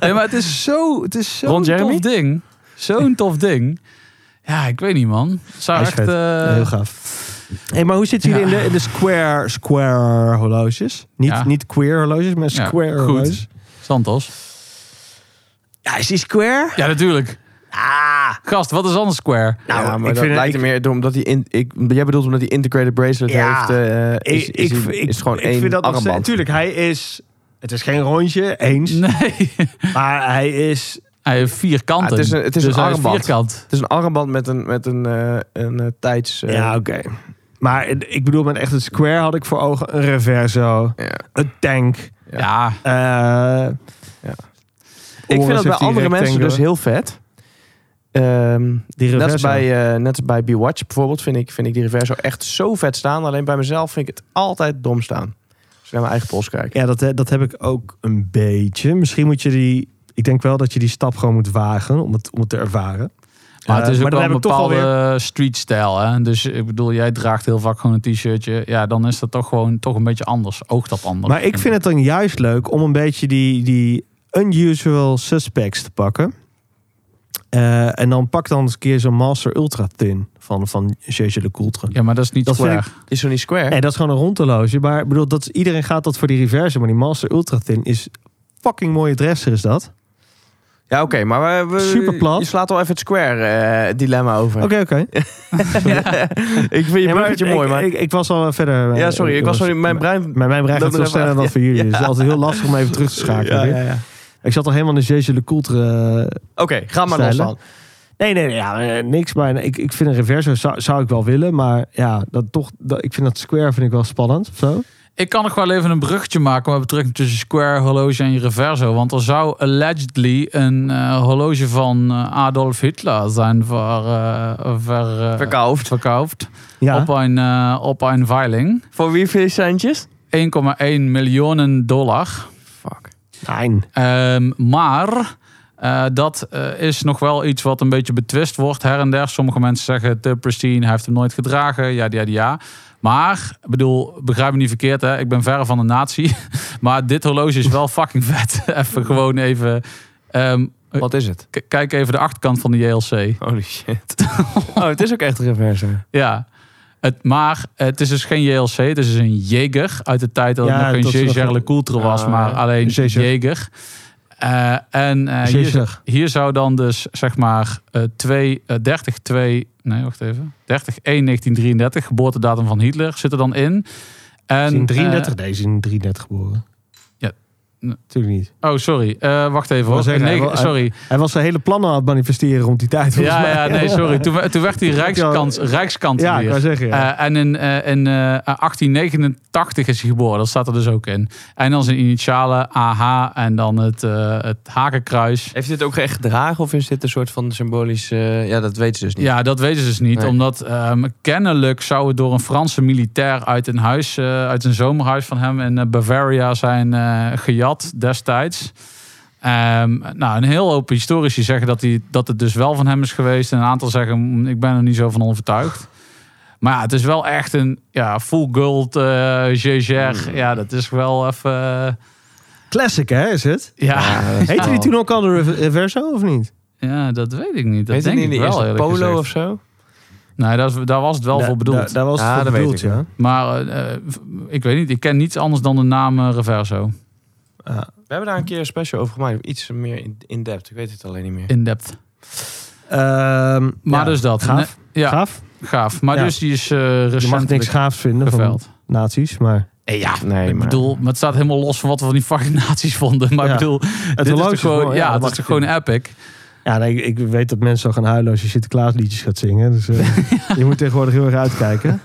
Nee, maar het is zo, het is zo'n Ron tof Jeremy? ding. Zo'n tof ding. Ja, ik weet niet, man. Het Zou Hij is echt, vet. eh, Heel gaaf. Hey, maar hoe zitten jullie in, de, in de square, square horloges? Niet, Ja. niet queer horloges, maar Ja, square goed. horloges. Santos. Ja, is die square? Ja, natuurlijk. Ah. Gast, wat is anders square? Nou, ja, maar ik dat vind- lijkt ik- er meer door omdat hij in, ik, jij bedoelt omdat hij integrated bracelet Ja. heeft. eh is, is, hij- is gewoon één nog steeds- armband. Tuurlijk, hij is... Het is geen rondje, eens. Nee. Maar hij is... Hij heeft vier kanten. Ah, het is een- het is dus een hij armband. vierkant. het is een armband met een met een, eh, een eh, tijds. eh, ja, oké. Maar ik bedoel, met echt een square had ik voor ogen een reverso, ja. een tank. Ja. ja, eh, Ik Oris vind dat bij heeft die andere mensen rectangular. dus heel vet. Ehm, Die net, als reverso. bij, eh, net als bij B-Watch bijvoorbeeld vind ik, vind ik die reverso echt zo vet staan. Alleen bij mezelf vind ik het altijd dom staan. Als ik naar mijn eigen pols kijk. Ja, dat, eh, dat heb ik ook een beetje. Misschien moet je die... Ik denk wel dat je die stap gewoon moet wagen om het, om het te ervaren. maar het Eh, is ook maar dan wel een heb ik toch wel bepaalde streetstijl. Hè? Dus ik bedoel, jij draagt heel vaak gewoon een t-shirtje. Ja, dan is dat toch gewoon toch een beetje anders. Oogt dat anders. Maar ik vind het dan juist leuk om een beetje die, die unusual suspects te pakken. Eh, en dan pak dan eens een keer zo'n Master Ultra Thin van, van Jeje de Coultre. Ja, maar dat is niet Dat vind square. Is zo niet square? Nee, dat is gewoon een rondhorloge. Maar ik bedoel, dat is- iedereen gaat dat voor die reverse. Maar die Master Ultra Thin is fucking mooie dresser is dat. Ja, oké, maar we, we- Superplat. Je slaat al even het square eh, dilemma over. Oké, oké. ik vind je Ja, maar bruggetje ik- mooi, maar... Ik, ik was al verder. eh, ja, sorry, ik jongens. was sorry, mijn brein Mijn, mijn brein gaat Dat veel er even sneller af- dan ja. voor jullie. Dus het is altijd heel lastig om even terug te schakelen. weer. Ik zat al helemaal in de Jeje Le Coultre eh, Oké, ga maar los Stijlen. dan. Nee, nee, nee ja, eh, niks. Maar ik, ik vind een reverso zou, zou ik wel willen. Maar ja, dat toch, dat, ik vind dat square vind ik wel spannend. Of zo. Ik kan nog wel even een bruggetje maken met betrekking tussen Square horloge en je Reverso. Want er zou allegedly een eh, horloge van eh, Adolf Hitler zijn ver, eh, ver, eh, Verkoofd. verkocht. Ja. Op, een, eh, op een veiling. Voor wie veel centjes? 1,1 miljoen dollar. Fuck. Nein. Ehm, maar eh, Eh, dat eh, is nog wel iets wat een beetje betwist wordt her en der. Sommige mensen zeggen te pristine, hij heeft hem nooit gedragen, ja, ja, ja. Maar, ik bedoel, begrijp me niet verkeerd, hè? ik ben verre van de natie. maar dit horloge is wel fucking vet. even gewoon even... ehm, Wat is het? k- kijk even de achterkant van de JLC. Holy shit. Oh, het is ook echt een reverse. Ja. Het, maar het is dus geen JLC, het is dus een Jaeger uit de tijd dat Ja, het nog dat geen is nog Jaeger Le een- Coultre was, Ah, maar ja. alleen Jaeger. Jaeger. Eh, en eh, hier, zou- Jezus. hier zou dan dus zeg maar eh 2, eh, 30, 2, nee wacht even, 30, 1, 1933, geboortedatum van Hitler, zit er dan in. En, Is hij in eh, 33? Nee, is hij in 33 geboren. Ja. Nee. Natuurlijk niet. oh, sorry. Eh, wacht even wou hoor. zeggen, hij Negen- wil- sorry. Hij was zijn hele plannen aan het manifesteren rond die tijd. volgens Ja, mij. ja, nee, sorry. Toen, we- toen werd hij Ja. Rijkskant, Ja, ik Rijkskanselier. wou zeggen. Ja. Eh, en in, eh, in eh, 1889 is hij geboren. Dat staat er dus ook in. En dan zijn initialen AH en dan het, eh, het hakenkruis. Heeft dit ook echt gedragen of is dit een soort van symbolisch... eh, ja, dat weten ze dus niet. Ja, dat weten ze dus niet. Nee. Omdat ehm, kennelijk zou het door een Franse militair uit een huis, eh, uit een zomerhuis van hem in eh, Bavaria zijn eh, gejat destijds. Ehm, nou, een heel hoop historici zeggen dat, die, dat het dus wel van hem is geweest. En een aantal zeggen, "Mm, ik ben er niet zo van overtuigd. Maar ja, het is wel echt een ja, full gold eh GGR. Hmm. Ja, dat is wel even... eh, Classic, hè, is het? ja. Eh, Heette die toen ook al de Rever- Reverso, of niet? ja, dat weet ik niet. Dat Heet het denk niet ik de wel, eerste eerlijk polo gezegd. of zo? Nee, daar, is- daar was het wel Da- voor da- bedoeld. daar was het Ah, voor dat weet bedoeld, ik, ja. Maar eh, eh, v- ik weet niet, ik ken niets anders dan de naam eh, Reverso. Ja. We hebben daar een keer een special over gemaakt. Iets meer in- in-depth. Ik weet het alleen niet meer. In depth. Ehm, Maar ja, dus dat. Gaaf. Nee, ja, gaaf. Gaaf. Maar Ja. dus die is eh Je mag niks recentelijk gaafs vinden van geveld. nazi's, maar... Eh, ja, Nee, ik maar- bedoel, maar het staat helemaal los van wat we van die fucking nazi's vonden. Maar Ja. ik bedoel, Het dit is horloge toch gewoon, mooi, ja, dat het is mag toch ik gewoon vinden. epic. Ja, nee, ik ik weet dat mensen al gaan huilen als je Sinterklaas liedjes gaat zingen. Dus eh, je moet tegenwoordig heel erg uitkijken.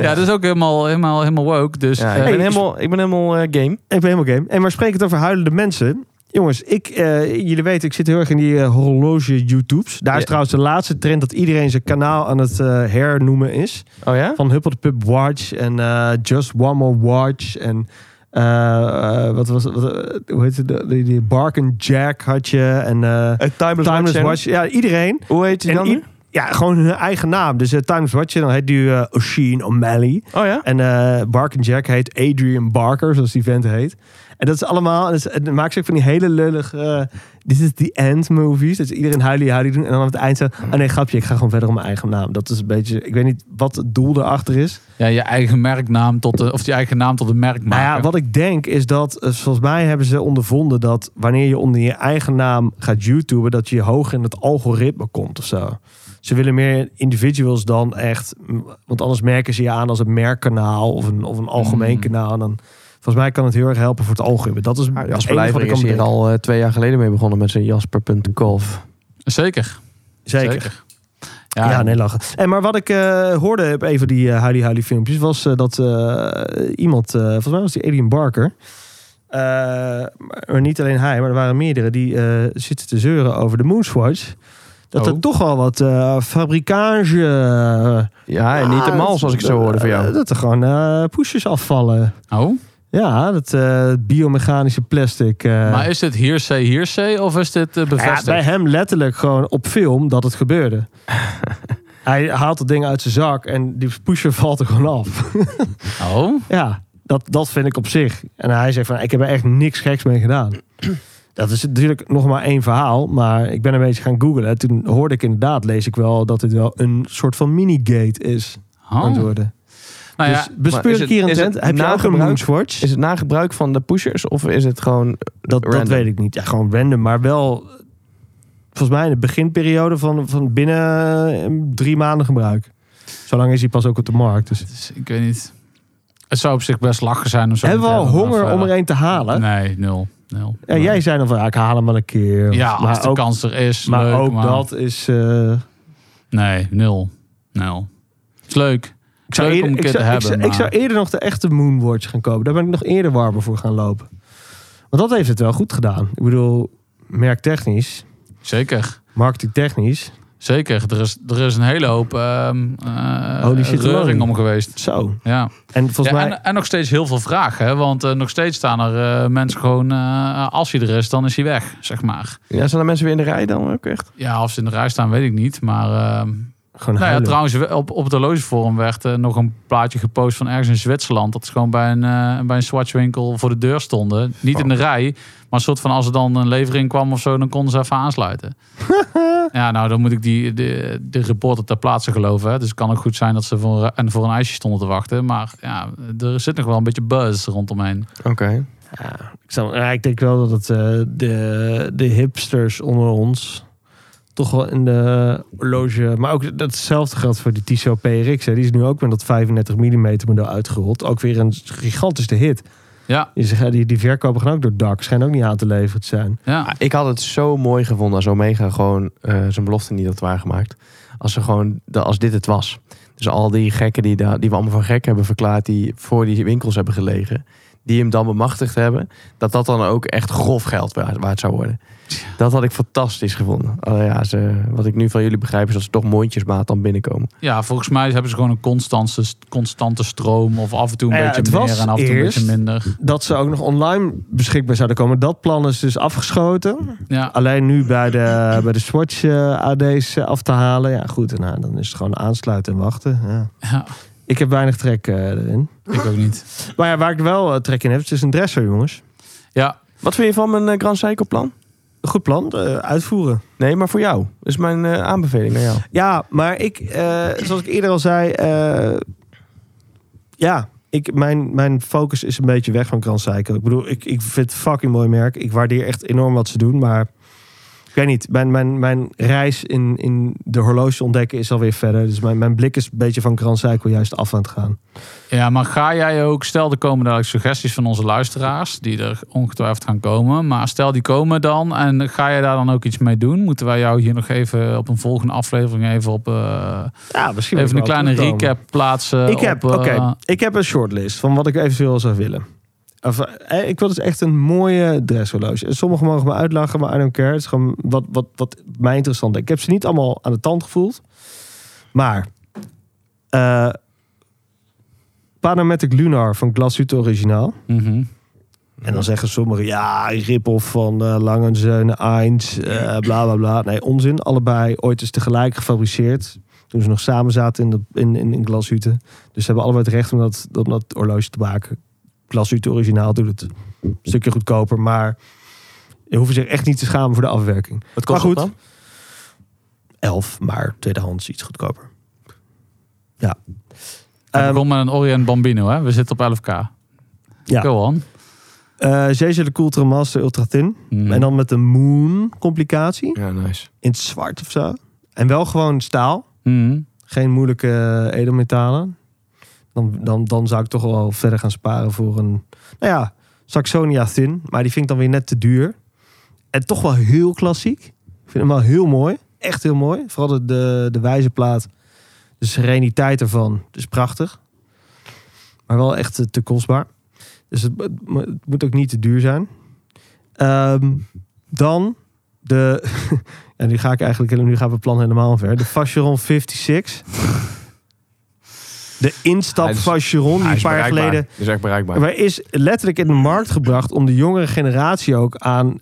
Ja, dat is ook helemaal, helemaal, helemaal woke. Dus Ja, eh, ik, ben helemaal, ik ben helemaal eh, game. Ik ben helemaal game. En maar spreek het over huilende mensen. Jongens, ik, eh, jullie weten, ik zit heel erg in die eh, horloge YouTubes. Daar is Ja. trouwens de laatste trend dat iedereen zijn kanaal aan het eh, hernoemen is. Oh ja? Van Huppel de Pub Watch en eh, Just One More Watch. En eh, eh, wat was het? Wat, eh, hoe heet het? De- Die, die Bark and Jack had je. En eh, Een timeless, Timeless watch. Watch. Ja, iedereen. Hoe heet die En dan? i- nu? Ja, gewoon hun eigen naam. Dus eh, Timeless Watch, dan heet die eh O'Sheen O'Malley. Oh ja? En eh Bark and Jack heet Adrian Barker, zoals die vent heet. En dat is allemaal, en dat, is, en dan maakt ze ook van die hele lullige, eh, dit is the end movies. Dus iedereen huilie huilie doen en dan aan het eind zo, oh nee grapje, ik ga gewoon verder om mijn eigen naam. Dat is een beetje, ik weet niet wat het doel daarachter is. ja, je eigen merknaam tot de, of je eigen naam tot een merk Maar maken. Nou ja, wat ik denk is dat, eh, volgens mij hebben ze ondervonden dat wanneer je onder je eigen naam gaat YouTuben, dat je hoog in het algoritme komt of zo. Ze willen meer individuals dan echt, m, want anders merken ze je aan als een merkkanaal of een, of een algemeen Hmm. Mm. kanaal. En dan, volgens mij kan het heel erg helpen voor het algoritme. Dat is het Als enige wat ik Blijvering kan is hier bedenken. al eh, twee jaar geleden mee begonnen met zijn jasper.golf. Zeker. Zeker. Ja, Ja, nee, lachen. En maar wat ik eh, hoorde op een van die eh huilie huilie filmpjes was eh, dat eh, iemand, eh, volgens mij was die Adrian Barker, eh, maar maar niet alleen hij, maar er waren meerdere die eh, zitten te zeuren over de Moonswatch. Dat er Oh. toch wel wat eh fabrikage. Ja, en niet de mal zoals ik zo hoorde van jou. dat er gewoon eh poesjes afvallen. Oh, Ja, dat eh, biomechanische plastic. eh. maar is dit hearsay, hearsay of is dit eh, Nou ja, bevestigd? bij hem letterlijk gewoon op film dat het gebeurde. Hij haalt dat ding uit zijn zak en die pusher valt er gewoon af. Oh, Ja, dat, dat vind ik op zich. En hij zegt van, ik heb er echt niks geks mee gedaan. Dat is natuurlijk nog maar één verhaal, maar ik ben een beetje gaan googlen. Toen hoorde ik inderdaad, lees ik wel, dat dit wel een soort van minigate is. Oh. Aan het worden. Nou ja, dus bespeur is ik het- hier een is het tent. Heb je na ook een gebruik? Moonswatch? Is het na gebruik van de pushers of is het gewoon... Dat, dat Random. weet ik niet. Ja, gewoon random, maar wel volgens mij in de beginperiode van, van binnen eh, drie maanden gebruik. Zolang is hij pas ook op de markt. Dus. dus ik weet niet. Het zou op zich best lachen zijn om zo. Hebben we al meteen, maar honger om verder- er een te halen? Nee, nul. nul. Ja, jij zei dan van, ja, ik haal hem wel een keer. Of- Ja, als maar de ook, kans er is. maar leuk, ook maar- dat is... eh, Nee, nul. Nul. Is leuk. ik, zou Leuk eerder, om een ik, keer zou, te ik, zou, hebben, ik zou eerder nog de echte Moonwatch gaan kopen. Daar ben ik nog eerder warmer voor gaan lopen. Want dat heeft het wel goed gedaan. Ik bedoel, merktechnisch, Zeker. marketingtechnisch. Zeker, er is, er is een hele hoop ehm eh, Oh, die zit er wel in. reuring om geweest. Zo. Ja. En volgens mij... Ja, en, eh, en nog steeds heel veel vragen. Hè? Want eh, nog steeds staan er eh, mensen gewoon... eh, als hij er is, dan is hij weg, zeg maar. Ja, zijn er mensen weer in de rij dan ook echt? Ja, of ze in de rij staan, weet ik niet. Maar ehm, Gewoon nou ja, huilen. trouwens, op, op het horlogeforum werd eh, nog een plaatje gepost van ergens in Zwitserland. Dat ze gewoon bij een, eh, bij een swatchwinkel voor de deur stonden. Niet in de Oh. rij, maar een soort van als er dan een levering kwam of zo, dan konden ze even aansluiten. ja, nou, dan moet ik die, de, de reporter ter plaatse geloven. Hè. Dus het kan ook goed zijn dat ze voor, en voor een ijsje stonden te wachten. Maar ja, er zit nog wel een beetje buzz rondomheen. Oké. Ja, ik, snap- ja, ik denk wel dat het, eh, de, de hipsters onder ons toch wel in de horloge... Maar ook dat hetzelfde geldt voor die Tissot PRX. Hè. Die is nu ook met dat 35 mm model uitgerold. Ook weer een gigantische hit. Ja, Die, zeggen, die, die verkopen gaan ook door het dak. Schijnen ook niet aan te leveren te zijn. ja. Ah, Ik had het zo mooi gevonden als Omega gewoon eh, zijn belofte niet had waargemaakt. Als, ze gewoon, de, als dit het was. Dus al die gekken die, daar, die we allemaal van gek hebben verklaard, die voor die winkels hebben gelegen, die hem dan bemachtigd hebben, dat dat dan ook echt grof geld wa- waard zou worden. Dat had ik fantastisch gevonden. Alleen ja, ze, wat ik nu van jullie begrijp is dat ze toch mondjesmaat dan binnenkomen. ja, volgens mij hebben ze gewoon een constante, constante stroom. Of af en toe een Nou Ja, het beetje meer was en af en toe een eerst- beetje minder. Dat ze ook nog online beschikbaar zouden komen. Dat plan is dus afgeschoten. Ja. Alleen nu bij de, bij de Swatch eh, AD's af te halen. Ja goed, en, nou, dan is het gewoon aansluiten en wachten. Ja. ja, Ik heb weinig trek eh, erin. ik ook niet. Maar ja, waar ik wel eh, trek in heb, het is een dresser, jongens. Ja, Wat vind je van mijn eh, Grand Seiko plan? Goed plan, eh, uitvoeren. Nee, maar voor jou. Dat is mijn eh, aanbeveling aan jou. Ja, maar ik, eh, zoals ik eerder al zei, eh, ja, ik, mijn, mijn focus is een beetje weg van Grand Seiko. Ik bedoel, ik, ik vind het fucking mooi merk. Ik waardeer echt enorm wat ze doen, maar ik weet niet. Mijn, mijn, mijn reis in, in de horloge ontdekken is alweer verder. Dus mijn, mijn blik is een beetje van Grand Seiko juist af aan het gaan. Ja, maar ga jij ook, stel er komen dadelijk suggesties van onze luisteraars, die er ongetwijfeld gaan komen. Maar stel die komen dan en ga jij daar dan ook iets mee doen? Moeten wij jou hier nog even op een volgende aflevering even op eh, Ja, misschien moet even een ik wel kleine terugkomen. recap plaatsen? Ik heb, op, eh, oké, ik heb een shortlist van wat ik eventueel zou willen. Of, eh, ik wil dus echt een mooie dresshorloge. En Sommigen mogen me uitlachen, maar I don't care. Het is gewoon wat, wat, wat mij interessant is. Ik heb ze niet allemaal aan de tand gevoeld. Maar... eh Panamatic Lunar van Glasuit Originaal. mhm. En dan zeggen sommigen, ja, Ripoff van eh Langenzeun, Eins, eh, bla bla bla. Nee, onzin. Allebei ooit eens tegelijk gefabriceerd. Toen ze nog samen zaten in, de, in, in, in Glashütte. Dus ze hebben allebei het recht om dat, om dat horloge te maken. Glashütte originaal doet het een stukje goedkoper. Maar je hoeft zich echt niet te schamen voor de afwerking. Wat Maar kost goed. dat dan? 11, maar tweedehands iets goedkoper. Ja. Ik Ehm, begon met een Orient Bambino, hè? We zitten op 11k. Ja. Go on. eh Jeje de Coulter Master Ultra Thin. Mhm. En dan met de Moon complicatie. Ja, nice. in het zwart of zo. En wel gewoon staal. Mhm. Geen moeilijke eh, edelmetalen. Dan, dan, dan zou ik toch wel verder gaan sparen voor een... Nou ja, Saxonia Thin. Maar die vind ik dan weer net te duur. En toch wel heel klassiek. Ik vind hem wel heel mooi. Echt heel mooi. Vooral de, de, de wijze plaat. De sereniteit ervan. Dus prachtig. Maar wel echt eh, te kostbaar. Dus het, het mo- het moet ook niet te duur zijn. Ehm, dan de... En nu ga ik eigenlijk... Nu gaat mijn plan helemaal ver. De Vacheron 56. De instap Hij is- Vacheron. Die een paar jaar geleden... Is echt bereikbaar. Maar is letterlijk in de markt gebracht om de jongere generatie ook aan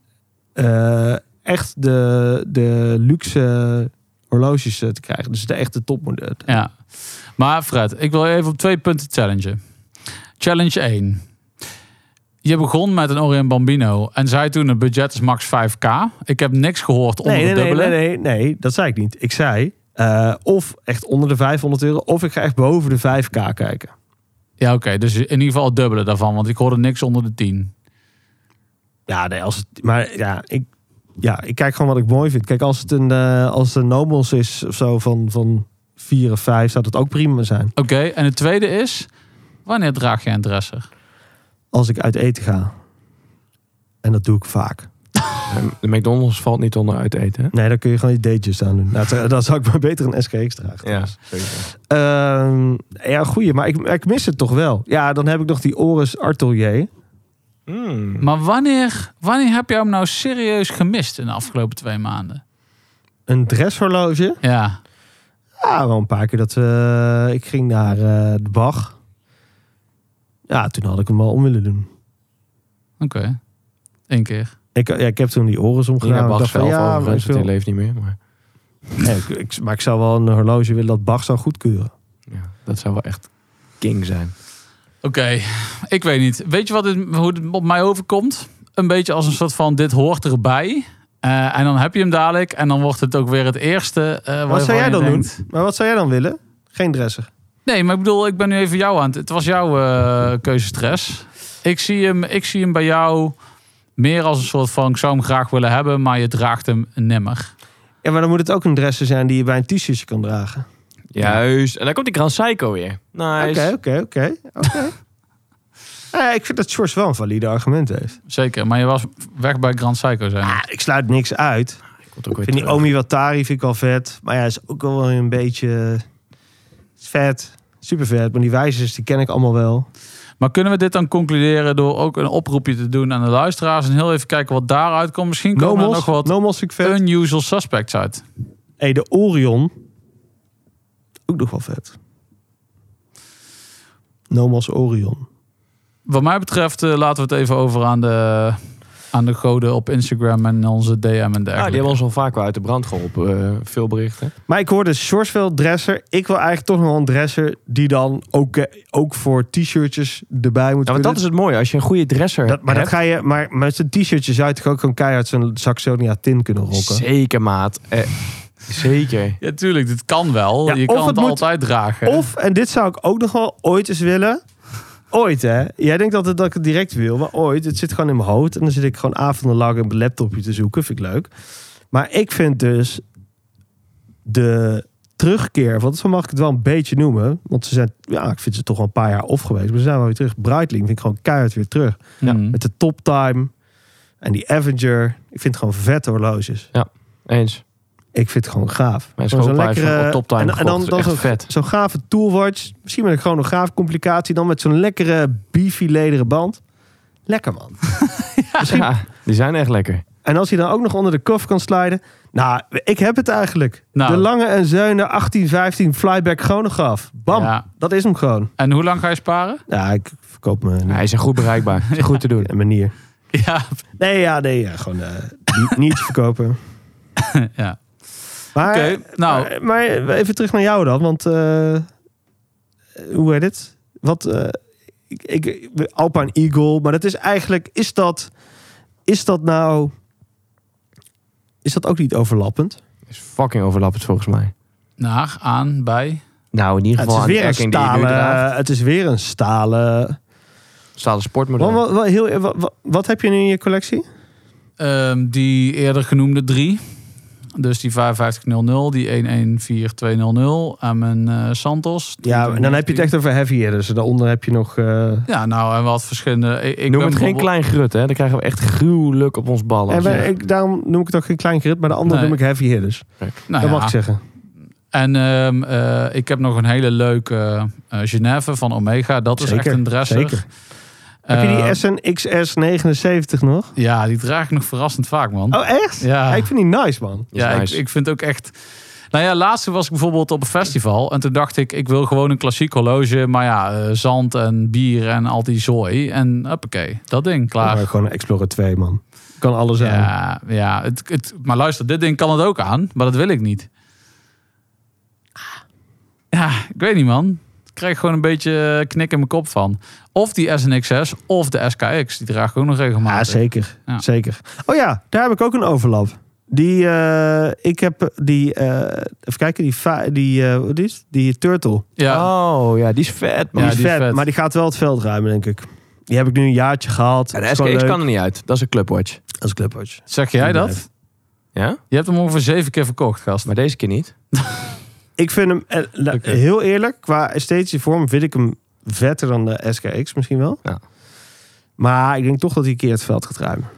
eh, echt de, de luxe horloges eh, te krijgen. Dus de echte topmodel. Ja. Maar Fred, ik wil je even op twee punten challengen. Challenge 1. Je begon met een Orient Bambino en zei toen het budget is max 5k. Ik heb niks gehoord onder Nee, nee, de nee, dubbele. nee, nee, nee, dat zei ik niet. Ik zei eh, of echt onder de 500 euro, of ik ga echt boven de 5k kijken. Ja, oké. dus in ieder geval het dubbele daarvan, want ik hoorde niks onder de 10. Ja, nee, als het, maar ja, ik, ja, ik kijk gewoon wat ik mooi vind. Kijk, als het een, eh, als het een Nobles is of zo van, van 4 of 5, zou dat ook prima zijn. Oké, en het tweede is, wanneer draag je een dresser? Als ik uit eten ga. En dat doe ik vaak. De McDonald's valt niet onder uit eten, hè? Nee, daar kun je gewoon je datejes aan doen. Nou, dan zou ik maar beter een SKX dragen. Ja, Ehm, ja, goeie, maar ik, ik mis het toch wel. Ja, dan heb ik nog die Oris Artelier. Hmm. Hm. Maar wanneer, wanneer heb jij hem nou serieus gemist in de afgelopen twee maanden? Een dresshorloge. Ja. Ja, wel een paar keer dat we... Ik ging naar eh, de Bach. Ja, toen had ik hem wel om willen doen. Oké. Eén keer. Ik, ja, ik heb toen die oren omgedaan. Nou, Inga Ik Bach dacht van, zelf ja, maar overigens, ik wil- want die leeft niet meer. Maar Nee, ik- ik- maar ik zou wel een horloge willen dat Bach zou goedkeuren. ja, dat zou wel echt king zijn. Oké. Ik weet niet. Weet je wat dit, hoe het op mij overkomt? Een beetje als een soort van dit hoort erbij. Eh, en dan heb je hem dadelijk. En dan wordt het ook weer het eerste. eh, Wat waarvan zou jij je dan denkt- doen? Maar wat zou jij dan willen? Geen dresser. Nee, maar ik bedoel, ik ben nu even jou aan het... Het was jouw eh, keuzestress. Ik zie, hem, ik zie hem bij jou meer als een soort van... Ik zou hem graag willen hebben, maar je draagt hem nimmer. Ja, maar dan moet het ook een dresser zijn die je bij een t-shirtje kan dragen. Juist. En dan komt die Grand Psycho weer. Nice. Oké, oké, oké. oké. Nou ja, Ik vind dat George wel een valide argument heeft. Zeker, maar je was weg bij Grand Psycho zijn. Ah, ik sluit niks uit. Komt Ik ook weer vind die terug. Omi Watari vind ik wel vet. Maar ja, is ook wel een beetje eh, is vet. Super vet. Maar die wijzers, die ken ik allemaal wel. Maar kunnen we dit dan concluderen door ook een oproepje te doen aan de luisteraars... en heel even kijken wat daaruit komt? Misschien nou komen er nog Nomos, wat Nomos vind ik vet. unusual suspects uit. Hey, de Orion. Ook nog wel vet. Nomos Orion. Wat mij betreft eh, laten we het even over aan de, aan de goden op Instagram... en onze DM en dergelijke. Ah, die hebben ons al vaak wel uit de brand geholpen. eh, veel berichten. Maar ik hoorde George veel dresser. Ik wil eigenlijk toch nog wel een dresser die dan ook, eh, ook voor t-shirtjes erbij moet Ja, want dat is het mooie. Als je een goede dresser Dat, maar, dat hebt... ga je, maar met zijn t-shirtje zou je toch ook gewoon keihard zo'n Saxonia tin kunnen rocken? Zeker, maat. Eh, zeker. Ja, tuurlijk, dit kan wel. Ja, je of kan het, het moet- altijd dragen. Of, en dit zou ik ook nog wel ooit eens willen. Ooit, hè? Jij denkt altijd dat ik het direct wil, maar ooit. Het zit gewoon in mijn hoofd. En dan zit ik gewoon avondenlang op mijn laptopje te zoeken. Vind ik leuk. Maar ik vind dus de terugkeer, want zo mag ik het wel een beetje noemen. Want ze zijn, ja, ik vind ze toch wel een paar jaar off geweest. Maar ze zijn wel weer terug. Breitling vind ik gewoon keihard weer terug. Ja. Met de Top Time en die Avenger. Ik vind het gewoon vette horloges. Eens. Ik heeft gewoon gaaf. Mijn Gewoon zo'n schoonpa heeft een Top Time en, en dan, gekocht. dan Echt zo'n, vet. zo'n gave toolwatch. Misschien met een chronograaf complicatie. Dan met zo'n lekkere beefy lederen band. Lekker man. Ja, die zijn echt lekker. En als hij dan ook nog onder de koffer kan sliden. Nou, ik heb het eigenlijk. Nou. De lange en zeunen 1815 flyback chronograaf. Bam. Ja. Dat is hem gewoon. En hoe lang ga je sparen? Ja, ik verkoop me Hij is goed bereikbaar. Is goed te doen. een manier. Ja. Nee, ja, nee. Ja, gewoon eh, niet, niet te verkopen. ja. Maar, Oké, nou. maar, Eh, maar even terug naar jou dan, want eh, hoe heet het? Wat, eh, ik, ik, Alpine Eagle, maar dat is eigenlijk, is dat, is dat nou, is dat ook niet overlappend? Is fucking overlappend volgens mij. Naar, aan, bij. Nou, in ieder Het geval is aan de weer een erkenning die je nu draagt. stalen, het is weer een stalen. Staat een sportmodel. Wat, wat, wat- heel, wat, wat- wat heb je nu in je collectie? Ehm, die eerder genoemde drie. Dus die 5500, die 114200 en mijn eh, Santos. Ja, en dan heb je het echt over heavy dus daaronder heb je nog. eh, Ja, nou, en wat verschillende... Ik, ik Noem ben het geen bijvoorbeeld- klein grut, hè. Dan krijgen we echt gruwelijk op ons ballen. en als wij- we- ik, daarom noem ik het ook geen klein gerrit, maar de andere Nee. noem ik heavy hitters. Nou dat ja. mag ik zeggen. En ehm, eh, ik heb nog een hele leuke eh, Geneve van Omega. Dat is Zeker, echt een dresser. zeker. heb je Ehm, die SNXS 79 nog? Ja, die draag ik nog verrassend vaak, man. Oh, echt? Ja. Ja, ik vind die nice, man. Dat is Ja, nice. ik, ik vind ook echt. Nou ja, laatste was ik bijvoorbeeld op een festival. En toen dacht ik, ik wil gewoon een klassiek horloge. Maar ja, eh, zand en bier en al die zooi. En hoppakee, dat ding, klaar. Maar gewoon een Explorer 2, man. Kan alles zijn. Ja, ja het, het, maar luister, dit ding kan het ook aan. Maar dat wil ik niet. Ja, ik weet niet, man. Ik krijg gewoon een beetje eh, knik in mijn kop van. Of die SNXS of de SKX. Die draag ik ook nog Ja, regelmatig. zeker. Ja. Zeker. Oh ja, daar heb ik ook een overlap. Die, eh, ik heb die, eh, even kijken, die, fa- die, eh, wat is het? die Turtle. Ja, Oh, ja, die is vet, Die man. Ja, is die is vet, vet. maar die gaat wel het veld ruimen, denk ik. Die heb ik nu een jaartje gehaald. Ja, Dat de is gewoon SKX leuk. kan er niet uit. Dat is een clubwatch. Als clubwatch. zeg jij dat? Ja? Je hebt hem ongeveer zeven keer verkocht, gast. Maar deze keer niet. Ik vind hem, eh, la- Oké. heel eerlijk, qua esthetische vorm vind ik hem vetter dan de SKX misschien wel. Ja. Maar ik denk toch dat hij een keer het veld gaat ruimen.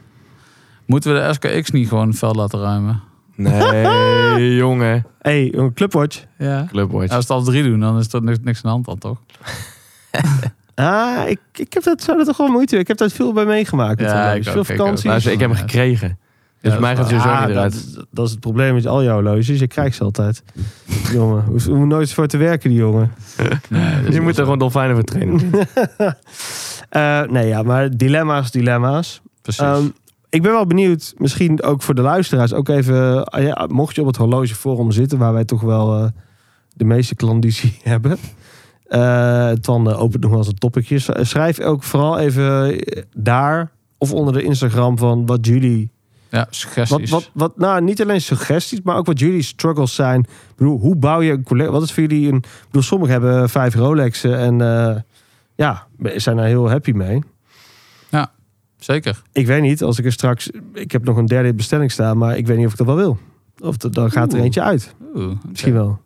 Moeten we de SKX niet gewoon het veld laten ruimen? Nee, jongen. hey, een clubwatch. Ja. Clubwatch. Als we het al drie doen, dan is dat niks, niks aan de hand dan, toch? Ah, ik, ik heb dat, zou dat toch wel moeite. Ik heb dat veel bij meegemaakt. met Ja, horloges. ik ook, veel ik ook. vakanties. Luister, ik heb hem gekregen. Dus mij gaat sowieso Ah, niet eruit. dat, dat is het probleem met al jouw horloges. Je krijgt ze altijd. jongen, hoef, hoef nooit voor te werken, die jongen. je moet er gewoon dolfijnen voor Ehm, trainen. Eh, nee, ja, maar dilemma's, dilemma's. Precies. Ehm, ik ben wel benieuwd, misschien ook voor de luisteraars, ook even, ah ja, mocht je op het horlogeforum zitten, waar wij toch wel eh, de meeste klandizie hebben. Eh dan eh, opent nog wel eens een topicje. S- Schrijf ook vooral even eh, daar of onder de Instagram van wat jullie. ja, Wat, suggesties. wat, wat, nou, niet alleen suggesties, maar ook wat jullie struggles zijn. Ik bedoel, hoe bouw je een collectie? Wat is voor jullie een. Ik bedoel, sommigen hebben vijf Rolexen en eh, ja, zijn daar heel happy mee. Zeker. Ik weet niet, als ik er straks... Ik heb nog een derde bestelling staan, maar ik weet niet of ik dat wel wil. Of dat- dan gaat er Oeh. eentje uit. Oeh, Misschien wel.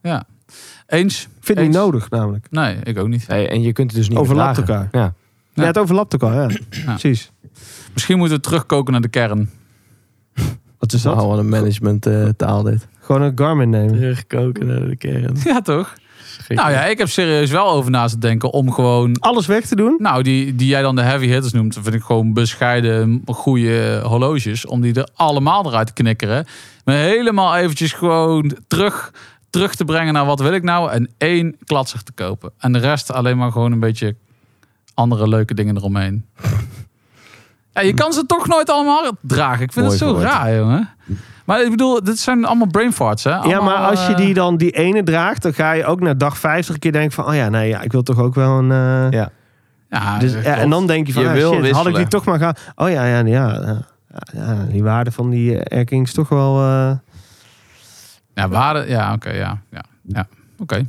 Eens? Ik vind het niet Eens. nodig, namelijk. Nee, ik ook niet. Nee, en je kunt het dus niet Overlapt verlagen. elkaar. Ja. Ja, het overlapt elkaar, ja. Precies. Misschien moeten we terugkoken naar de kern. Wat is dat? Oh, wat een management eh, taal dit. Gewoon een Garmin nemen. Terugkoken naar de kern. Ja, toch? Nou ja, ik heb serieus wel over na te denken om gewoon... Alles weg te doen. Nou, die, die jij dan de heavy hitters noemt, vind ik gewoon bescheiden goede horloges. Om die er allemaal eruit te knikkeren. Maar helemaal eventjes gewoon terug, terug te brengen naar wat wil ik nou. En één klatser te kopen. En de rest alleen maar gewoon een beetje andere leuke dingen eromheen. Ja, je kan ze toch nooit allemaal dragen. Ik vind Mooi het zo verwoord. raar, jongen. Maar ik bedoel, dit zijn allemaal brain farts, hè? Ja, maar Allemaal, als je eh, die dan die ene draagt, dan ga je ook na dag 50 een keer denken van... Oh ja, nee, ja, ik wil toch ook wel een... eh, Ja, Ja, dus, eh, ja, en dan denk je van, Je ah, wil shit, had ik die wisselen. toch maar gaan... Oh ja, ja, ja. ja, ja, die waarde van die eh, Air Kings toch wel... eh, Ja, waarde. Ja, oké. ja, ja, ja. Oké.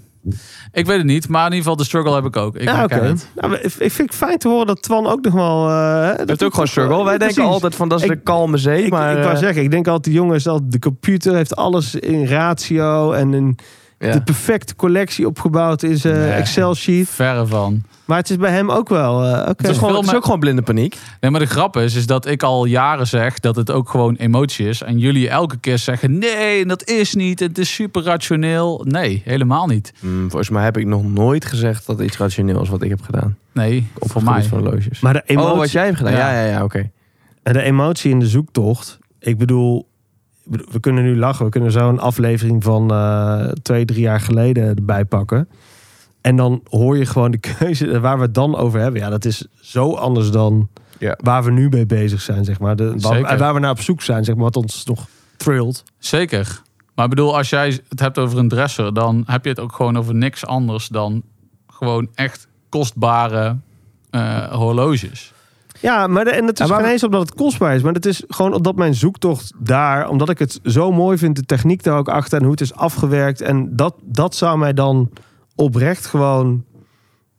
Ik weet het niet, maar in ieder geval de struggle heb ik ook. Ik ja, oké. herken het. Nou, maar ik ik vind het fijn te horen dat Twan ook nog wel... eh, dat Dat hij is ook gewoon toch wel- struggle. Wij Ja, denken precies. altijd van dat is de Ik- kalme zee. Ik, Maar ik wou eh, zeggen, ik denk altijd, jongens, dat de computer heeft alles in ratio en een, ja. de perfecte collectie opgebouwd in zijn Nee. Excel-sheet. Verre van. Maar het is bij hem ook wel. eh, Oké. het, is gewoon, veel het is me- ook gewoon blinde paniek. Nee, maar de grap is, is dat ik al jaren zeg dat het ook gewoon emotie is. En jullie elke keer zeggen, nee, en dat is niet. Het is super rationeel. Nee, helemaal niet. Hmm, volgens mij heb ik nog nooit gezegd dat iets rationeel is wat ik heb gedaan. Nee, Op voor het gebied mij. van horloges. Maar de emotie, Oh, wat jij hebt gedaan. Ja, Ja. ja, ja, oké. de emotie in de zoektocht. Ik bedoel, ik bedoel, we kunnen nu lachen. We kunnen zo een aflevering van eh, twee, drie jaar geleden erbij pakken. En dan hoor je gewoon de keuze waar we het dan over hebben. Ja, dat is zo anders dan Ja. waar we nu mee bezig zijn, zeg maar. De, waar, Zeker. en waar we naar op zoek zijn, zeg maar. Wat ons nog thrilt. Zeker. Maar ik bedoel, als jij het hebt over een dresser, dan heb je het ook gewoon over niks anders dan gewoon echt kostbare eh, horloges. Ja, maar de- en dat is Ja, maar- geen eens omdat het kostbaar is. Maar het is gewoon omdat mijn zoektocht daar... omdat ik het zo mooi vind, de techniek daar ook achter... en hoe het is afgewerkt. En dat, dat zou mij dan oprecht gewoon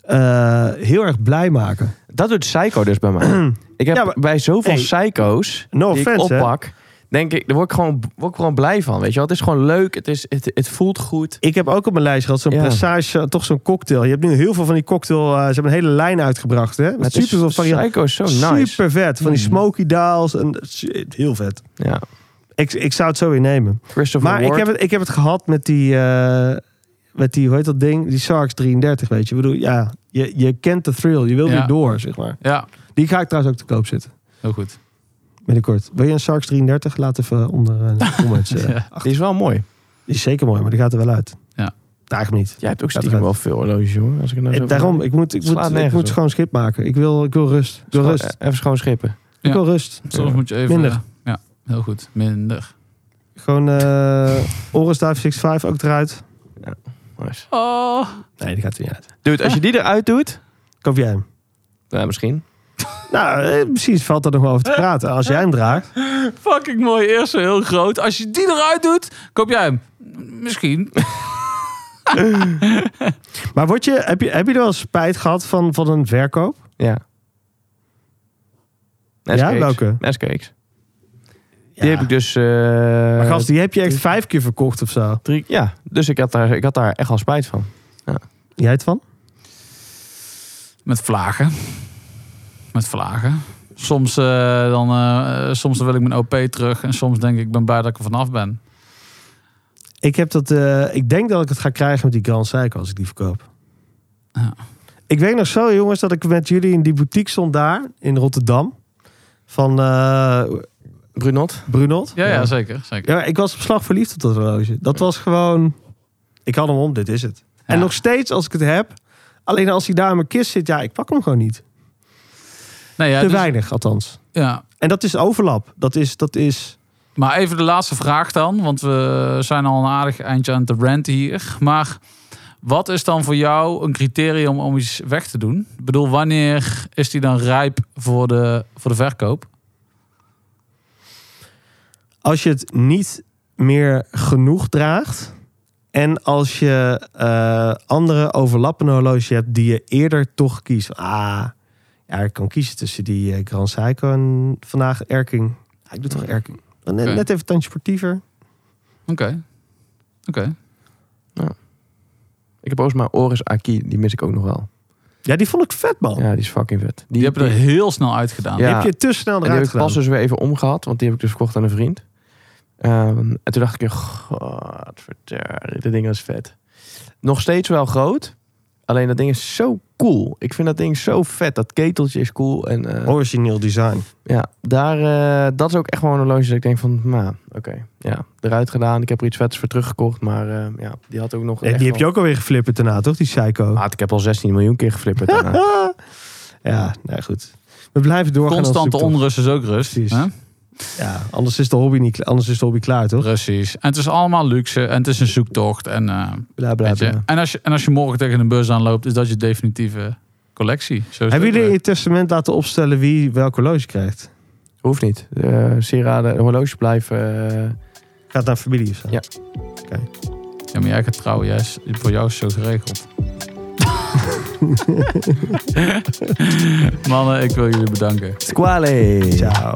eh, heel erg blij maken. Dat doet Psycho dus bij mij. ik heb Ja, maar- bij zoveel Hey. Psycho's No die offense, ik hè? oppak... Denk ik, daar word ik, gewoon, word ik gewoon blij van. Weet je wel? Het is gewoon leuk. Het, is, het, het voelt goed. Ik heb ook op mijn lijst gehad zo'n Ja. pressage, eh, toch zo'n cocktail. Je hebt nu heel veel van die cocktail... eh, ze hebben een hele lijn uitgebracht, hè? Met het is- super veel varianten. Psycho is zo nice. Mm. Super vet. Van die smoky dials. En, shit, heel vet. Ja. Ik, ik zou het zo weer nemen. Christopher Maar ik Ward. heb, het, ik heb het gehad met die, eh, met die, hoe heet dat ding? Die SARS 33, weet je. Ik bedoel, ja, je, je kent de thrill. Je wil Ja. weer door, zeg maar. Ja, Die ga ik trouwens ook te koop zitten, heel goed. binnenkort. Wil je een SARS 33? Laat even onder eh, in de comments. eh. Ja. Die is wel mooi. Die is zeker mooi, maar die gaat er wel uit. Ja. Eigenlijk niet. Jij hebt ook Gaat stiekem eruit. wel veel horloges, hoor. Als ik er nou zo En over daarom, nadenk. ik moet, ik Slaat moet, ik nergens moet op. schoon schip maken. Ik wil, ik wil rust. Ik wil Schoon- rust. Even schoon schippen. Ik Ja. wil rust. Soms moet je even... Minder. eh, Ja, heel goed. Minder. Gewoon eh Oris 565 ook eruit. Nice. Oh. Nee, die gaat er niet uit. Dude, als je die eruit doet... Koop jij hem? Nou, misschien. Nou, eh, precies. Valt er nog wel over te praten. Als jij hem draagt. Fucking mooi. Eerst zo heel groot. Als je die eruit doet, koop jij hem. Misschien. Maar word je, heb, je, heb je er wel spijt gehad van, van een verkoop? Ja. Ja, SKX. welke? SKX. Die heb ik dus... eh, Maar gast, die heb je echt vijf keer verkocht of zo. drie, ja, dus ik had, daar, ik had daar echt al spijt van. Jij het van? Met vlagen. Met vlagen. Soms, eh, dan, eh, soms dan wil ik mijn OP terug. En soms denk ik, ik ben blij dat ik er vanaf ben. Ik, heb dat, eh, ik denk dat ik het ga krijgen met die Grand Seiko als ik die verkoop. Ja. Ik weet nog zo, jongens, dat ik met jullie in die boutique stond daar in Rotterdam. Van, eh, Brunot. Brunot. Ja, ja zeker. zeker. Ja, maar ik was op slag verliefd op dat horloge. Dat was gewoon... Ik had hem om, dit is het. En Ja. nog steeds als ik het heb... Alleen als hij daar in mijn kist zit, ja, ik pak hem gewoon niet. Nee, ja, Te dus- weinig, althans. ja, En dat is overlap. Dat is... Dat is Maar even de laatste vraag dan, want we zijn al een aardig eindje aan het rant hier. Maar wat is dan voor jou een criterium om iets weg te doen? Ik bedoel, wanneer is die dan rijp voor de, voor de verkoop? als je het niet meer genoeg draagt... En als je eh, andere overlappende horloges hebt die je eerder toch kiest. Ah, ja, ik kan kiezen tussen die eh, Grand Seiko en vandaag Erking. Ja, ik doe toch Erking. Net, Oké. net even een tandje sportiever. Oké. Oké. Ik heb overigens maar Oris Aki, die mis ik ook nog wel. Ja, die vond ik vet, man. Ja, die is fucking vet. Die hebben er heel snel uitgedaan. Ja. Die heb je te snel En die eruit heb ik gedaan. pas dus weer even omgehad, want die heb ik dus verkocht aan een vriend. Ehm, en toen dacht ik, godverdorie, dit ding is vet. Nog steeds wel groot, alleen dat ding is zo cool. Ik vind dat ding zo vet, dat keteltje is cool. En Oh. eh, Origineel design. ja, daar, eh, dat is ook echt gewoon een horloge dat ik denk van, nou, oké, ja, eruit gedaan. Ik heb er iets vets voor teruggekocht, maar eh, ja, die had ook nog... Nee, echt die heb je wel- ook alweer geflipperd daarna, toch? Die Psycho. Ah. Maat, ik heb al 16 miljoen keer geflipperd daarna. Ja, nou goed. We blijven doorgaan. als Constante zoektocht. onrust is ook rust. Precies. hè? Ja, anders is de hobby niet kla- anders is de hobby klaar, toch? Precies. En het is allemaal luxe en het is een zoektocht. En, eh, Bla, bla, weet je. bla. en, als, je, en als je morgen tegen een beurs aanloopt, is dat je definitieve collectie. Zo is Hebben het jullie in ook eh. je testament laten opstellen wie welk horloge krijgt? Hoeft niet. Eh sieraden, horloge blijven... eh, Gaat naar familie of zo? Ja. weer. Ja, maar jij gaat trouwen. Jij is, voor jou is het zo geregeld. Mannen, ik wil jullie bedanken. Squale! Ciao.